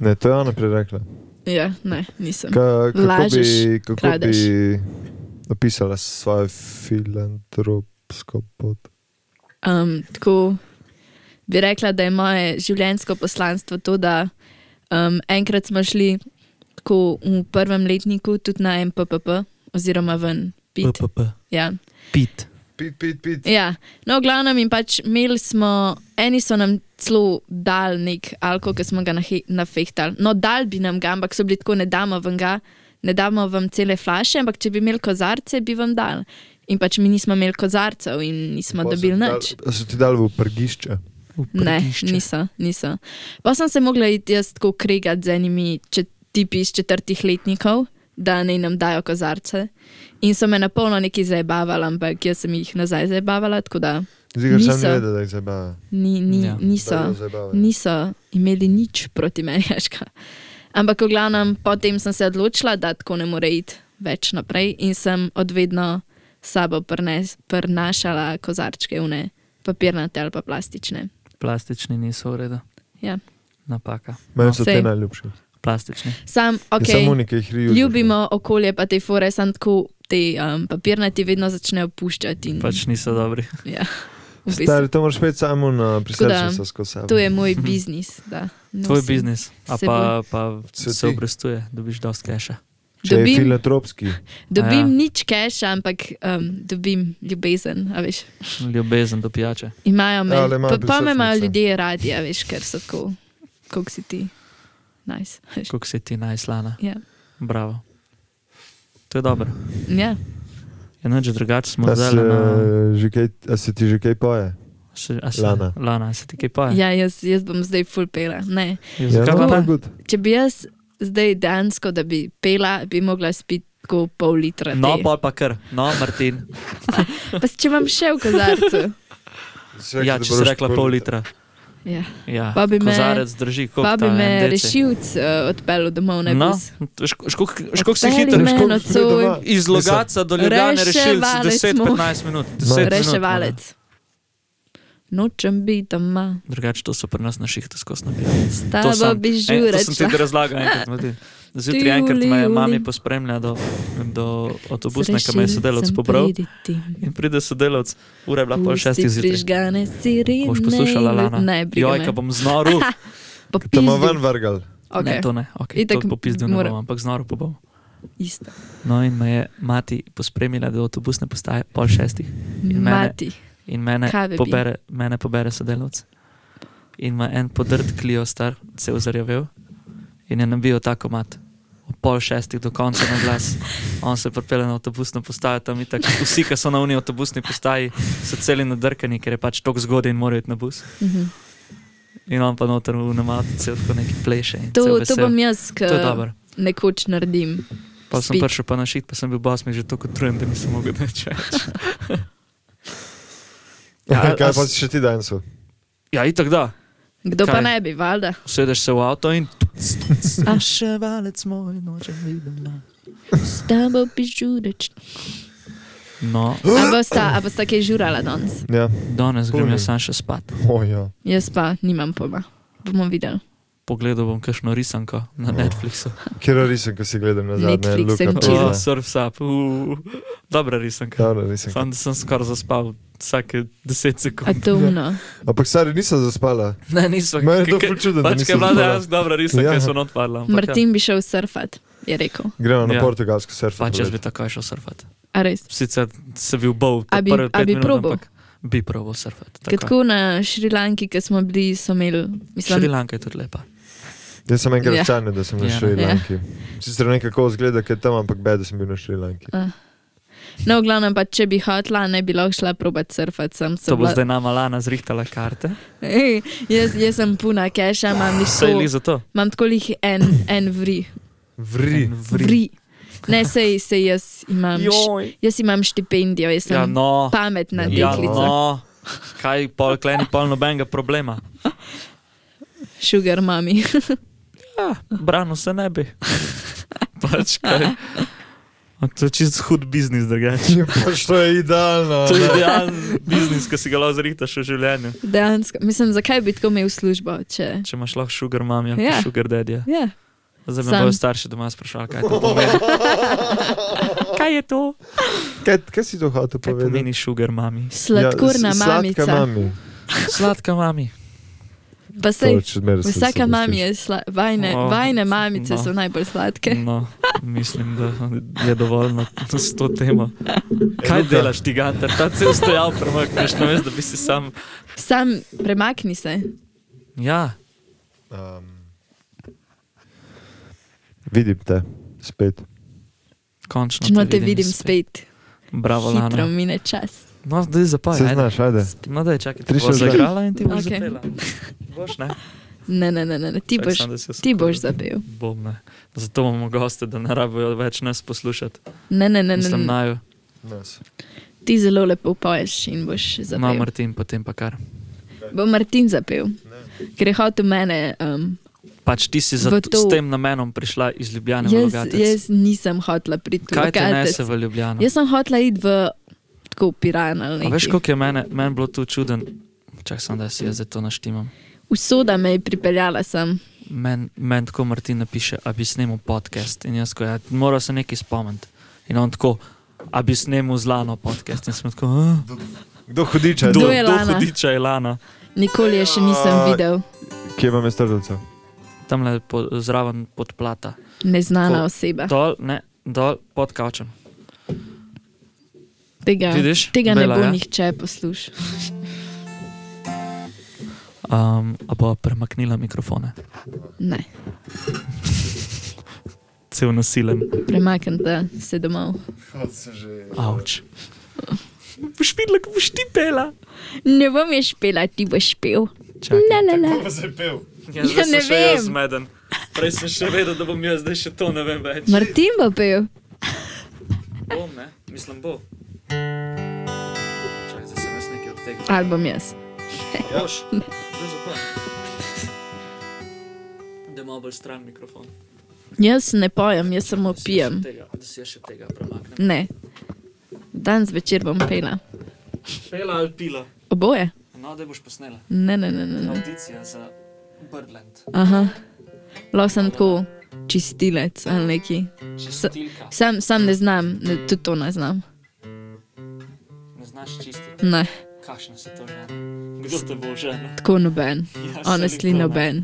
S2: Ne, to je ona prej rekla.
S4: Ja, ne, nisem.
S2: Ka, kako bi,
S4: Lažeš,
S2: kako
S4: kradeš.
S2: bi opisala svojo filantropsko pot?
S4: Um, tako bi rekla, da je moje življenjsko poslanstvo to, da um, enkrat smo šli tako v prvem letniku tudi na MPPP, oziroma ven. Pit,
S3: PPP.
S4: ja.
S3: Pit.
S2: Pit, pit, pit.
S4: Ja, no, v glavnem in pač imeli smo, eni so nam celo dal nek alkohol, ki smo ga nahe- nafehtali. No, dal bi nam ga, ampak so bili tako, ne damo vam ga, ne damo vam cele flaše, ampak če bi imeli kozarce, bi vam dal. In pač mi nismo imeli kozarcev in nismo dobili nič.
S2: So ti dali v prgišče.
S3: V
S4: Ne,
S3: prtišče.
S4: niso, niso. Pa sem se mogla iti jaz tako kregati z enimi če, tipi iz četrtih letnikov, da naj nam dajo kozarce. In so me na polno neki zabavala, ampak jaz sem jih nazaj zabavala, tako da
S2: Zigar sem
S4: Niso.
S2: ne vedel, da jih zabava.
S4: ni, ni,
S3: Ja.
S4: ja, niso, niso imeli nič proti meni. veš ka. Ampak v glavnem, potem sem se odločila, da tako ne more iti več naprej in sem odvedno s sabo prnes, prnašala kozarčke, une papirnate ali pa plastične.
S3: Plastični niso v redu.
S4: Ja.
S3: Napaka.
S2: Meni so te
S4: Sej.
S2: najljubši.
S3: Plastični.
S4: Sam,
S2: Okay.
S4: okay,
S2: Ja, Samo nekaj jih rijo.
S4: ljubimo okolje, pa te fore, sem tako te um, papirnati vedno začnejo puščati. In,
S3: Pač niso dobri.
S4: ja, v bistvu,
S2: Stari, to moraš pet samo na prisrčnico skozi sabo.
S4: to je moj biznis. Da,
S3: Tvoj
S4: nosim.
S3: biznis. A
S4: seboj.
S3: pa, pa se
S2: Cveti.
S3: obrestuje, dobiš dosti keša.
S2: Če je
S4: Dobim-
S2: filantropski.
S4: Dobim
S3: Ja.
S4: ja. nič keša, ampak um, dobim ljubezen. a veš.
S3: Ljubezen do pijače.
S4: Imajo me,
S2: Ja, ali imajo
S4: pa, pa me imajo
S2: prisrčnice.
S4: ljudje radi, a veš, ker so tako, kot si ti. Nice. veš.
S3: Kako si ti najslana.
S4: Ja.
S3: Bravo. To je dobro.
S4: Ja.
S3: Je noč drugače smo
S2: A se,
S3: zdaj na.
S2: eh, že kaj- a se ti že kaj poje?
S3: še- a se-
S2: Lana.
S3: Lana, a se ti kaj pa?
S4: ja, jaz, jaz bom zdaj full pela. Ne.
S3: Jo,
S2: Ja,
S3: Zakaj pa ne?
S2: good.
S4: Če bi jaz zdaj dejansko, da bi pela, bi mogla spiti tako pol litra. te.
S3: No, pol pa kar. No, Martin.
S4: pa s- če imam še v kozarcu.
S3: Ja, če si rekla pol litra.
S4: Ja.
S3: Ja.
S4: Pa bi me-
S3: Kozarec drži kot
S4: Pa bi me rešilc uh, odpeljal domov, ne bi
S3: No,
S4: s-
S3: škok si
S4: Odpelji
S2: Torej,
S3: hiter.
S4: me
S3: škok-
S4: nocoj.
S3: Iz Logaca do Ljubljana rešil
S4: Reševalec
S3: 10-15 minut. 10 minut, no. mora.
S4: Reševalec. Nočem biti doma.
S3: Drugače, to so pri nas na šihtu skozi naprej.
S4: S tabo bi
S3: en, to sem ti
S4: žurečla.
S3: razlagal enkrat. Mati. Zjutraj
S4: Ti,
S3: enkrat
S4: Juli,
S3: me je mami
S4: Juli.
S3: pospremljala do, do avtobusne, ki me je sodelavc pobral. In pride sodelavc, ura je bila pol šestih zjutraj.
S4: Prižgane sirene.
S3: Boš poslušala Lana?
S4: Ne, briga
S3: Joj,
S4: me.
S3: ka bom znoru.
S4: Pa
S2: Tam
S4: pizdi.
S2: ven vrgal.
S4: Ok,
S3: Ne, to ne, okay,
S4: Itak
S3: to popizdil ne
S4: mora-
S3: bom, ampak znoru pa bom.
S4: isto.
S3: No in me je mati pospremila do avtobusne postaje pol šestih. In mene-
S4: Mati.
S3: In mene
S4: Kave bi.
S3: pobere, mene pobere sodelavc. In ima en podrt klijo star, se je zarjavel in je nabil tako mat. Ob pol šestih do konca na glas. On se pripelje na avtobusno postajo, tam itak. Vsi, ki so na uniji avtobusni postaji, so celi nadrkani, ker je pač tako zgodaj in morajo iti na bus.
S4: Mhm.
S3: In on pa noter v namatice, tako neki pleše. in cel
S4: To, eh, to
S3: vesel.
S4: bom jaz,
S3: to je
S4: kar
S3: dobro.
S4: nekoč naredim.
S3: Pa sem
S4: Spit.
S3: prišel pa na šit, pa sem bil basmi že tako utrujen, da nisem mogel več. Ja,
S2: Ja, kaj
S3: a
S2: pa
S3: s-
S2: si še ti danes?
S3: Ja, itak da.
S4: Kdo pa
S3: Kaj?
S4: ne bi, valjda.
S3: Sedeš se v avto in
S4: Ah.
S3: še valec moj, nočem videti.
S4: S tabo bi žureč.
S3: No,
S4: A bosta, a bosta kaj žurala danes?
S2: Ja,
S3: danes grem
S2: Pulni.
S3: jaz sam še spat.
S2: ojo.
S4: Jaz pa nimam pojma. Bomo videli.
S3: Pogledal bom kakšno risanko na
S2: Oh.
S3: Netflixu.
S2: Kjer risem, ko si gledam nazaj?
S4: Netflix and chill.
S2: Ja,
S3: Oh, surf up, uh, dobra risanka.
S2: Dobro, nisem.
S3: Sam sem skoraj zaspal vsake 10 sekund.
S4: Atomno.
S2: Ampak stari nisem zaspala.
S3: Ne, nisem.
S2: Mene je to
S3: Ke- ke-
S2: ful čudno, da
S3: Pač,
S2: nisem
S3: ker je bila
S2: zaspala.
S3: dejansko dobra risanka,
S2: Ja.
S3: ja. so not padla. ampak ja.
S4: Martin bi šel surfat, je rekel.
S2: Gremo na
S3: Ja.
S2: portugalsko surfing.
S3: Pač jaz bi takoj šel surfati.
S4: A res?
S3: Sicer se bi ubol,
S4: A bi-
S3: prve
S4: a
S3: 5
S4: bi
S3: minut,
S4: probal?
S3: ampak bi probal surfati. takoj.
S4: Ker tako na Šrilanki, ki smo bili, so imeli, mislim,
S3: Šrilanka je tudi lepa.
S2: Jaz sem enkrat
S4: Ja.
S2: čanil, da sem na
S3: Ja.
S2: Šrilanki. Sicer nekako zgleda, ker tam, ampak bed, da sem bil na Šrilanki.
S4: Eh. No, v glavnem pa, če bi hotla, ne bi lahko šla probat surfati sem.
S3: To
S4: sem
S3: bo
S4: bila-
S3: zdaj nama Lana zrihtala karte.
S4: Ej, jaz, jaz sem puna keša, imam
S3: Saj li
S4: nič.
S3: za to.
S4: Imam tako jih en, en vri.
S2: Vri.
S3: En vri.
S4: vri. Ne, sej, sej jaz imam. š-
S3: Joj.
S4: Jaz imam štipendijo, jaz sem
S3: Ja, no.
S4: pametna
S3: Ja,
S4: deklica.
S3: no. Kaj pol kleni, pol nobenega problema.
S4: Sugar mami.
S3: Ja, branil se ne bi. Pač kaj. Ampak To je čist hud biznis, drugače.
S2: Ja, pač to je
S4: No,
S2: idealno.
S3: To je
S2: ne.
S3: idealen biznis, ki si ga lahko zrihtaš v življenju.
S4: Dejansko. Mislim, zakaj bi tako imel službo, če.
S3: Če imaš lahko sugar mamijo,
S4: Ja.
S3: ja. sugar dadija.
S4: Ja.
S3: Zdaj me
S4: Sam.
S3: bojo starši doma sprašali, kaj to pomeni. Kaj je to?
S2: Kaj, kaj si to hotel
S3: Kaj
S2: povedati?
S3: pomeni sugar mami?
S4: Sladkorna ja, mamica.
S2: Sladka mami.
S3: Sladka mami.
S2: To
S4: Pa sej,
S2: je čudmer, se- se
S4: vsaka
S2: pustiš.
S4: mami je sla, vajne,
S3: O,
S4: oh, vajne mamice
S3: no.
S4: no. so najbolj sladke.
S3: No, mislim, da je dovolj na s to temo. Kaj
S2: Luka.
S3: delaš ti, Gantar? Ta cel stojal premakneš, ne veš, da bi si sam.
S4: Sam premakni se.
S3: Ja,
S2: Um, vidim te, spet.
S3: končno.
S4: Če no te vidim spet,
S3: Bravo,
S4: hitro
S3: Lana.
S4: mine čas.
S3: No, zdaj zapaj.
S2: Se
S3: ajde.
S2: znaš, ajde.
S3: No, da je čakaj,
S2: Tri
S3: ti boš
S2: še zdaj.
S3: zagrala in ti boš
S4: Okej.
S3: okay. zapela. Boš, ne?
S4: Ne, ne, ne, ne, ne. ti
S3: Čakaj,
S4: boš,
S3: samo, da se jaz
S4: ti
S3: spomnim.
S4: boš zapel.
S3: Bom, ne. Zato imamo goste, da ne rabijo več nas poslušati.
S4: Ne, ne, ne, ne,
S3: Mislim,
S4: ne.
S3: naj jo.
S4: Ti zelo lepo poješ in boš
S3: No,
S4: zapel.
S3: Martin, potem pa kar.
S4: Bo Martin zapel, ker je hotel mene. Um,
S3: Pač ti si za,
S4: V
S3: to...
S4: to-
S3: s tem namenom prišla iz Ljubljana v
S4: jaz,
S3: Logatec.
S4: jaz nisem hotla priti v
S3: Kaj te
S4: Logatec.
S3: nese v Ljubljano?
S4: Jaz sem hotla iti v tako Piran ali
S3: A
S4: nekaj.
S3: veš, koliko je mene, meni bilo tu čuden. Čak sem, da si jaz zdaj to naštimam.
S4: Usoda me je pripeljala sem.
S3: Meni men tako Martin napiše, a bi snemal podcast. In jaz, ko ja, moram se nekaj spomniti. In on tako, a bi snemal zlano podcast. In sem tako, "Ah,
S2: Kdo hudiče?
S3: kdo
S4: Kdo je
S3: kdo
S4: Lana?"
S3: hudiča je Lana.
S4: Nikoli je še nisem
S2: Ja.
S4: videl,
S2: Kje vam je strdovcev?
S3: Tam le po, zraven podplata.
S4: neznana
S3: Ko-
S4: oseba.
S3: Dol, ne, dol pod kavčem.
S4: Tega,
S3: Vidiš?
S4: tega ne
S3: Bela,
S4: bo
S3: ja?
S4: nihče poslušal.
S3: Um, a bo premaknila mikrofone.
S4: Ne,
S3: Cel nasilen.
S4: premaknite se domov.
S3: Avč. Boš videla, kako boš ti pela.
S4: Ne bom ješ pela, ti boš pel.
S3: Čakaj.
S4: La, la, la.
S3: Ja,
S4: Ja,
S3: zdaj sem
S4: ne
S3: še jaz
S4: vem.
S3: zmeden. Prej sem še vedel, da bom jaz zdaj še to ne vem več.
S4: Martin bo pel.
S3: Bom, ne? Mislim, bo. Čakaj, zdaj sem jaz nekaj od tega.
S4: Ali bom jaz.
S3: Boš. Zdaj zapaj. Da ima bolj stran mikrofon.
S4: Jaz ne pojem, jaz samo
S3: Da si jaz
S4: pijem.
S3: še tega- Da si jaz še tega premaknem.
S4: Ne. Danes večer bom pela.
S3: Pela ali pila.
S4: Oboje?
S3: No, da boš posnela.
S4: Ne, ne, ne. ne, ne.
S3: Audicija za Birdland.
S4: Aha. Lahko sem tako čistilec ali neki.
S3: Čistilka.
S4: Sam, sam ne znam, ne, tudi to ne znam.
S3: Ne znaš čistiti.
S4: Ne,
S3: Kakšna se to žena? Kdo te bo žena?
S4: tako noben.
S3: Ja, saj nikoli
S4: Honestly,
S3: ne.
S4: noben.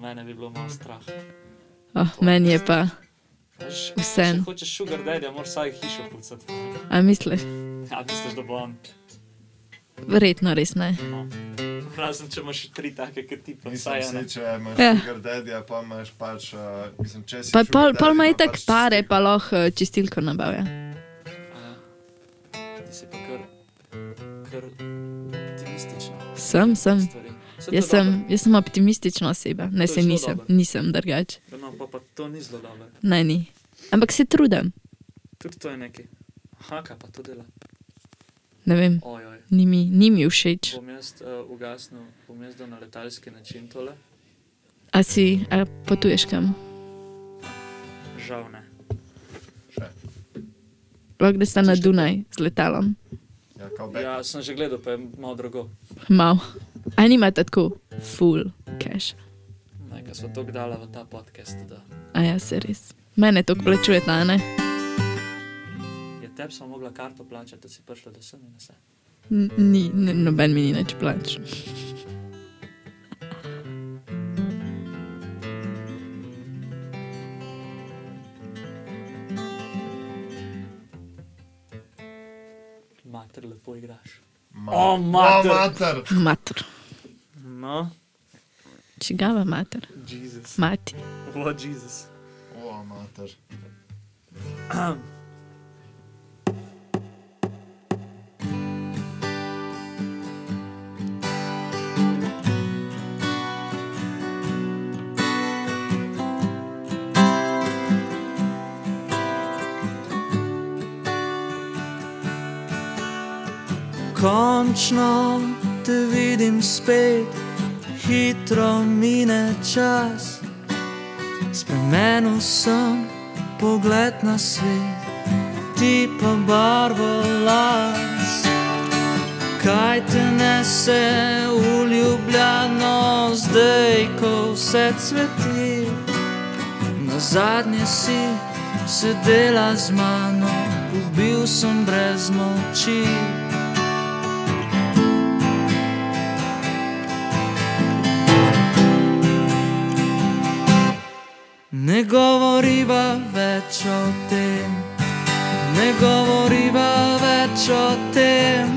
S3: Mene bi bilo malo strah.
S4: Oh, meni je pa,
S3: Veš,
S4: Vseeno.
S3: Če hočeš sugar daddy, moraš vsaj hišo pucati.
S4: a misliš,
S3: Ja, misliš, da bo on.
S4: verjetno res ne.
S3: No. Razen če imaš tri take, kot ti pa vsaj ena.
S2: če imaš
S4: Ja.
S2: daddy, pa imaš pač, uh, mislim, če si.
S4: Pa pol, pol ima itak
S2: pač
S4: pare, pa lahko eh, čistilko nabavlja.
S3: ja. Ti si pa kar, kar optimistična.
S4: Sem, sem.
S3: Stvari. Saj to je
S4: Jaz sem,
S3: dobro.
S4: jaz sem optimistična oseba, ne
S3: To je
S4: se
S3: zelo
S4: nisem,
S3: dobro.
S4: nisem drugače.
S3: Ja, No, pa, pa to ni zelo dobro.
S4: Ne, ni. Ampak se trudim,
S3: Tudi to je nekaj. Aha, kaj pa to dela.
S4: ne vem,
S3: Ojoj.
S4: ni mi, ni mi všeč.
S3: Bom jaz uh, ugasnil, bom jaz dal na letalski način tole.
S4: A si a potuješ kam?
S3: Žal ne.
S4: Lahko da sta na Dunaj z letalom.
S2: Ja, kao
S3: Ja, sem že gledal, pa je malo drugo.
S4: Mal. A nimate tako, full cash.
S3: Nekaj smo to dala v ta podcast, da
S4: A ja, se res. Mene to plačuje, a ne?
S3: je tebi samo mogla karto plačati, da si prišla do sem in vse.
S4: N- Ni, n- noben mi ni nič plač.
S3: Mater, lepo igraš.
S2: Ma-
S3: O, mater.
S2: O, mater.
S4: Mater.
S3: No,
S4: Čigava mater?
S3: Jezus.
S4: Mati.
S3: O, Jezus.
S2: O, mater.
S3: Končno te vidim spet, hitro mine čas. Spremenil sem pogled na svet, ti pa barvo las. Kaj te nese v ljubljeno, zdaj ko vse cveti? Na zadnje si sedela z mano, ubil sem brez moči. Ne govoriva več o tem, ne govoriva več o tem,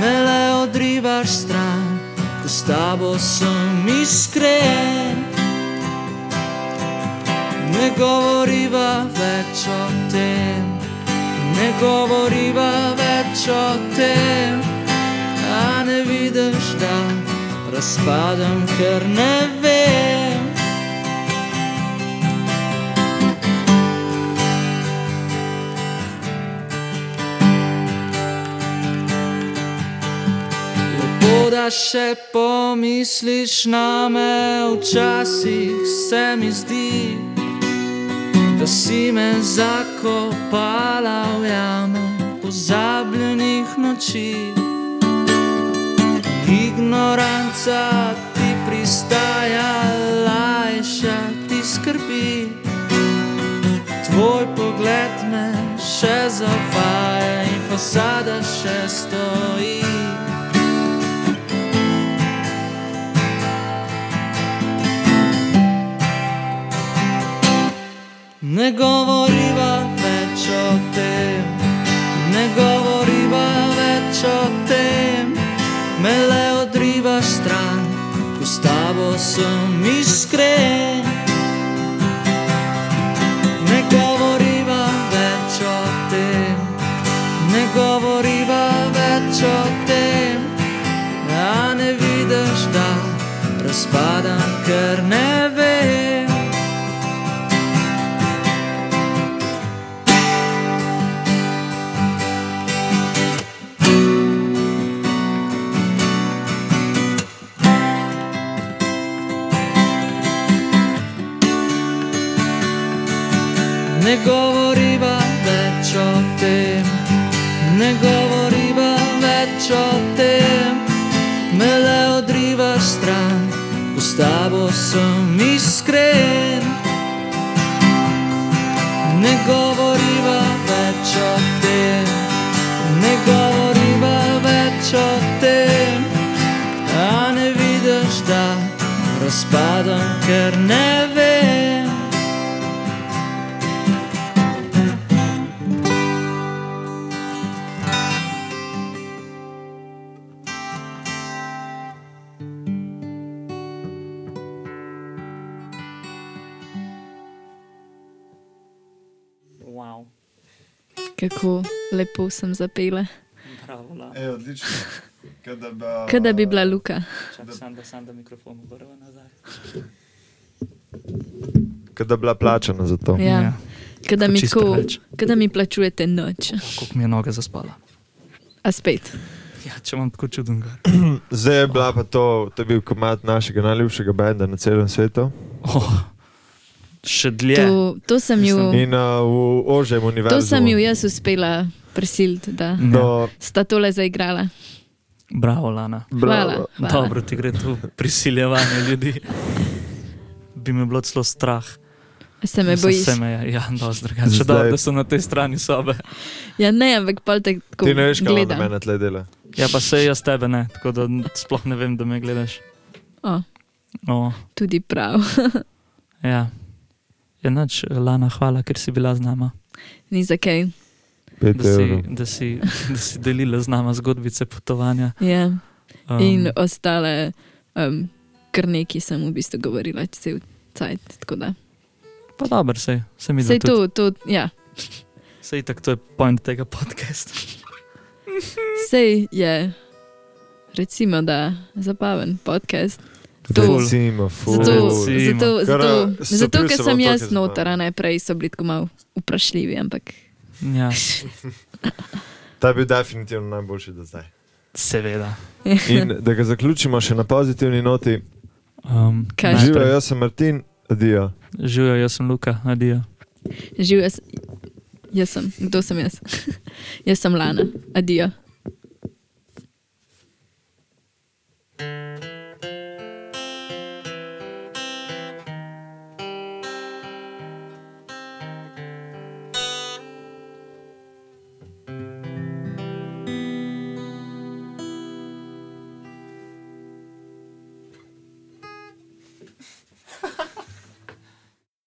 S3: me le odrivaš stran, ko s tabo sem iskren. Ne govoriva več o tem, ne govoriva več o tem, a ne vidiš, da razpadam, ker ne vem. Lepo, da še pomisliš na me, včasih se mi zdi, da si me zakopala v jame pozabljenih noči. Ignoranca ti pristaja, lajša ti skrbi. Tvoj pogled me še zavaja in fasada še stoji. Ne govoriva več o tem, ne govoriva več o tem, me le odrivaš stran, ko s tabo sem iskren. Ne govoriva več o tem, ne govoriva več o tem, a ne vidiš, da razpadam, ker ne vem. Ne govoriva več o tem, ne govoriva več o tem, me le odrivaš stran, ko s tabo sem iskren. Ne govoriva več o tem, ne govoriva več o tem, a ne vidiš, da razpadam, ker ne vem. Wow.
S4: Kako lepo sem zapela.
S3: Bravo, no. Lara.
S2: E, odlično. Kada ba,
S4: Kaj da bi bila luka.
S3: Čakaj, sam da, sam da mikrofon obrva nazaj.
S2: Kada bila plačana za to.
S4: Ja. Kaj da mi,
S3: Čisto
S4: ko,
S3: preveč.
S4: kaj da mi plačujete noč.
S3: Kako mi je noga zaspala.
S4: A spet.
S3: Ja, če imam tako čuden gar.
S2: Zdaj je bila pa to, to je bil komat našega najljubšega benda na celem svetu.
S3: Oh, še dlje.
S4: To, to sem ju,
S2: In uh, v ožjem univerzu.
S4: Mm.
S2: No,
S4: to sem ju jaz uspela prisiliti, da
S3: Ja.
S2: Do,
S4: sta tole zaigrala.
S3: Bravo, Lana.
S4: Hvala. Hvala.
S3: Dobro ti gre to prisiljevanje ljudi. Bi me bilo celo strah.
S4: Se me
S3: Mislim,
S4: bojiš.
S3: Se me je, ja, dosti drugače. Še
S2: Zdaj-
S3: dobro, da sem na tej strani sobe.
S4: Ja, ne, ampak pol te tako
S2: Ti ne veš, kaj ona na
S4: gledam.
S2: mene tle dela.
S3: Ja, pa se jaz tebe ne, tako da sploh ne vem, da me gledaš.
S4: O,
S3: Oh,
S4: tudi prav.
S3: ja. Je noč, Lana, hvala, ker si bila z nama.
S4: Ni za kaj.
S2: Pet
S3: Da si,
S2: evrov.
S3: da, si, da si delila z nama zgodbice potovanja.
S4: Ja.
S3: Um,
S4: In ostale, um, kar nekaj sem v bistvu govorila, če se vcajt.
S3: Pa dobro, sej, se mi
S4: Sej
S3: zdi.
S4: to, to, ja.
S3: Sej tako, to je point tega podcasta.
S4: Sej je, recimo, da zabaven podcast. To-
S2: Recimo, ful.
S4: Zato,
S3: Recimo.
S4: zato,
S2: Kar,
S4: zato,
S2: eh, se
S4: zato
S2: bil
S4: ker
S2: sem
S4: sem
S2: otrok
S4: jaz
S2: in
S4: noter,
S2: zabaven.
S4: a ne prej so bili tako malo vprašljivi, ampak
S3: Ja.
S2: Ta je bil definitivno najboljši do zdaj.
S3: Seveda.
S2: In da ga zaključimo še na pozitivni noti.
S3: Um,
S4: Kaj?
S3: najprej.
S2: Živijo, jaz sem Martin, adijo.
S3: Živijo, jaz sem Luka, adijo.
S4: Živ jaz, jaz sem, kdo sem jaz? jaz sem Lana, adijo.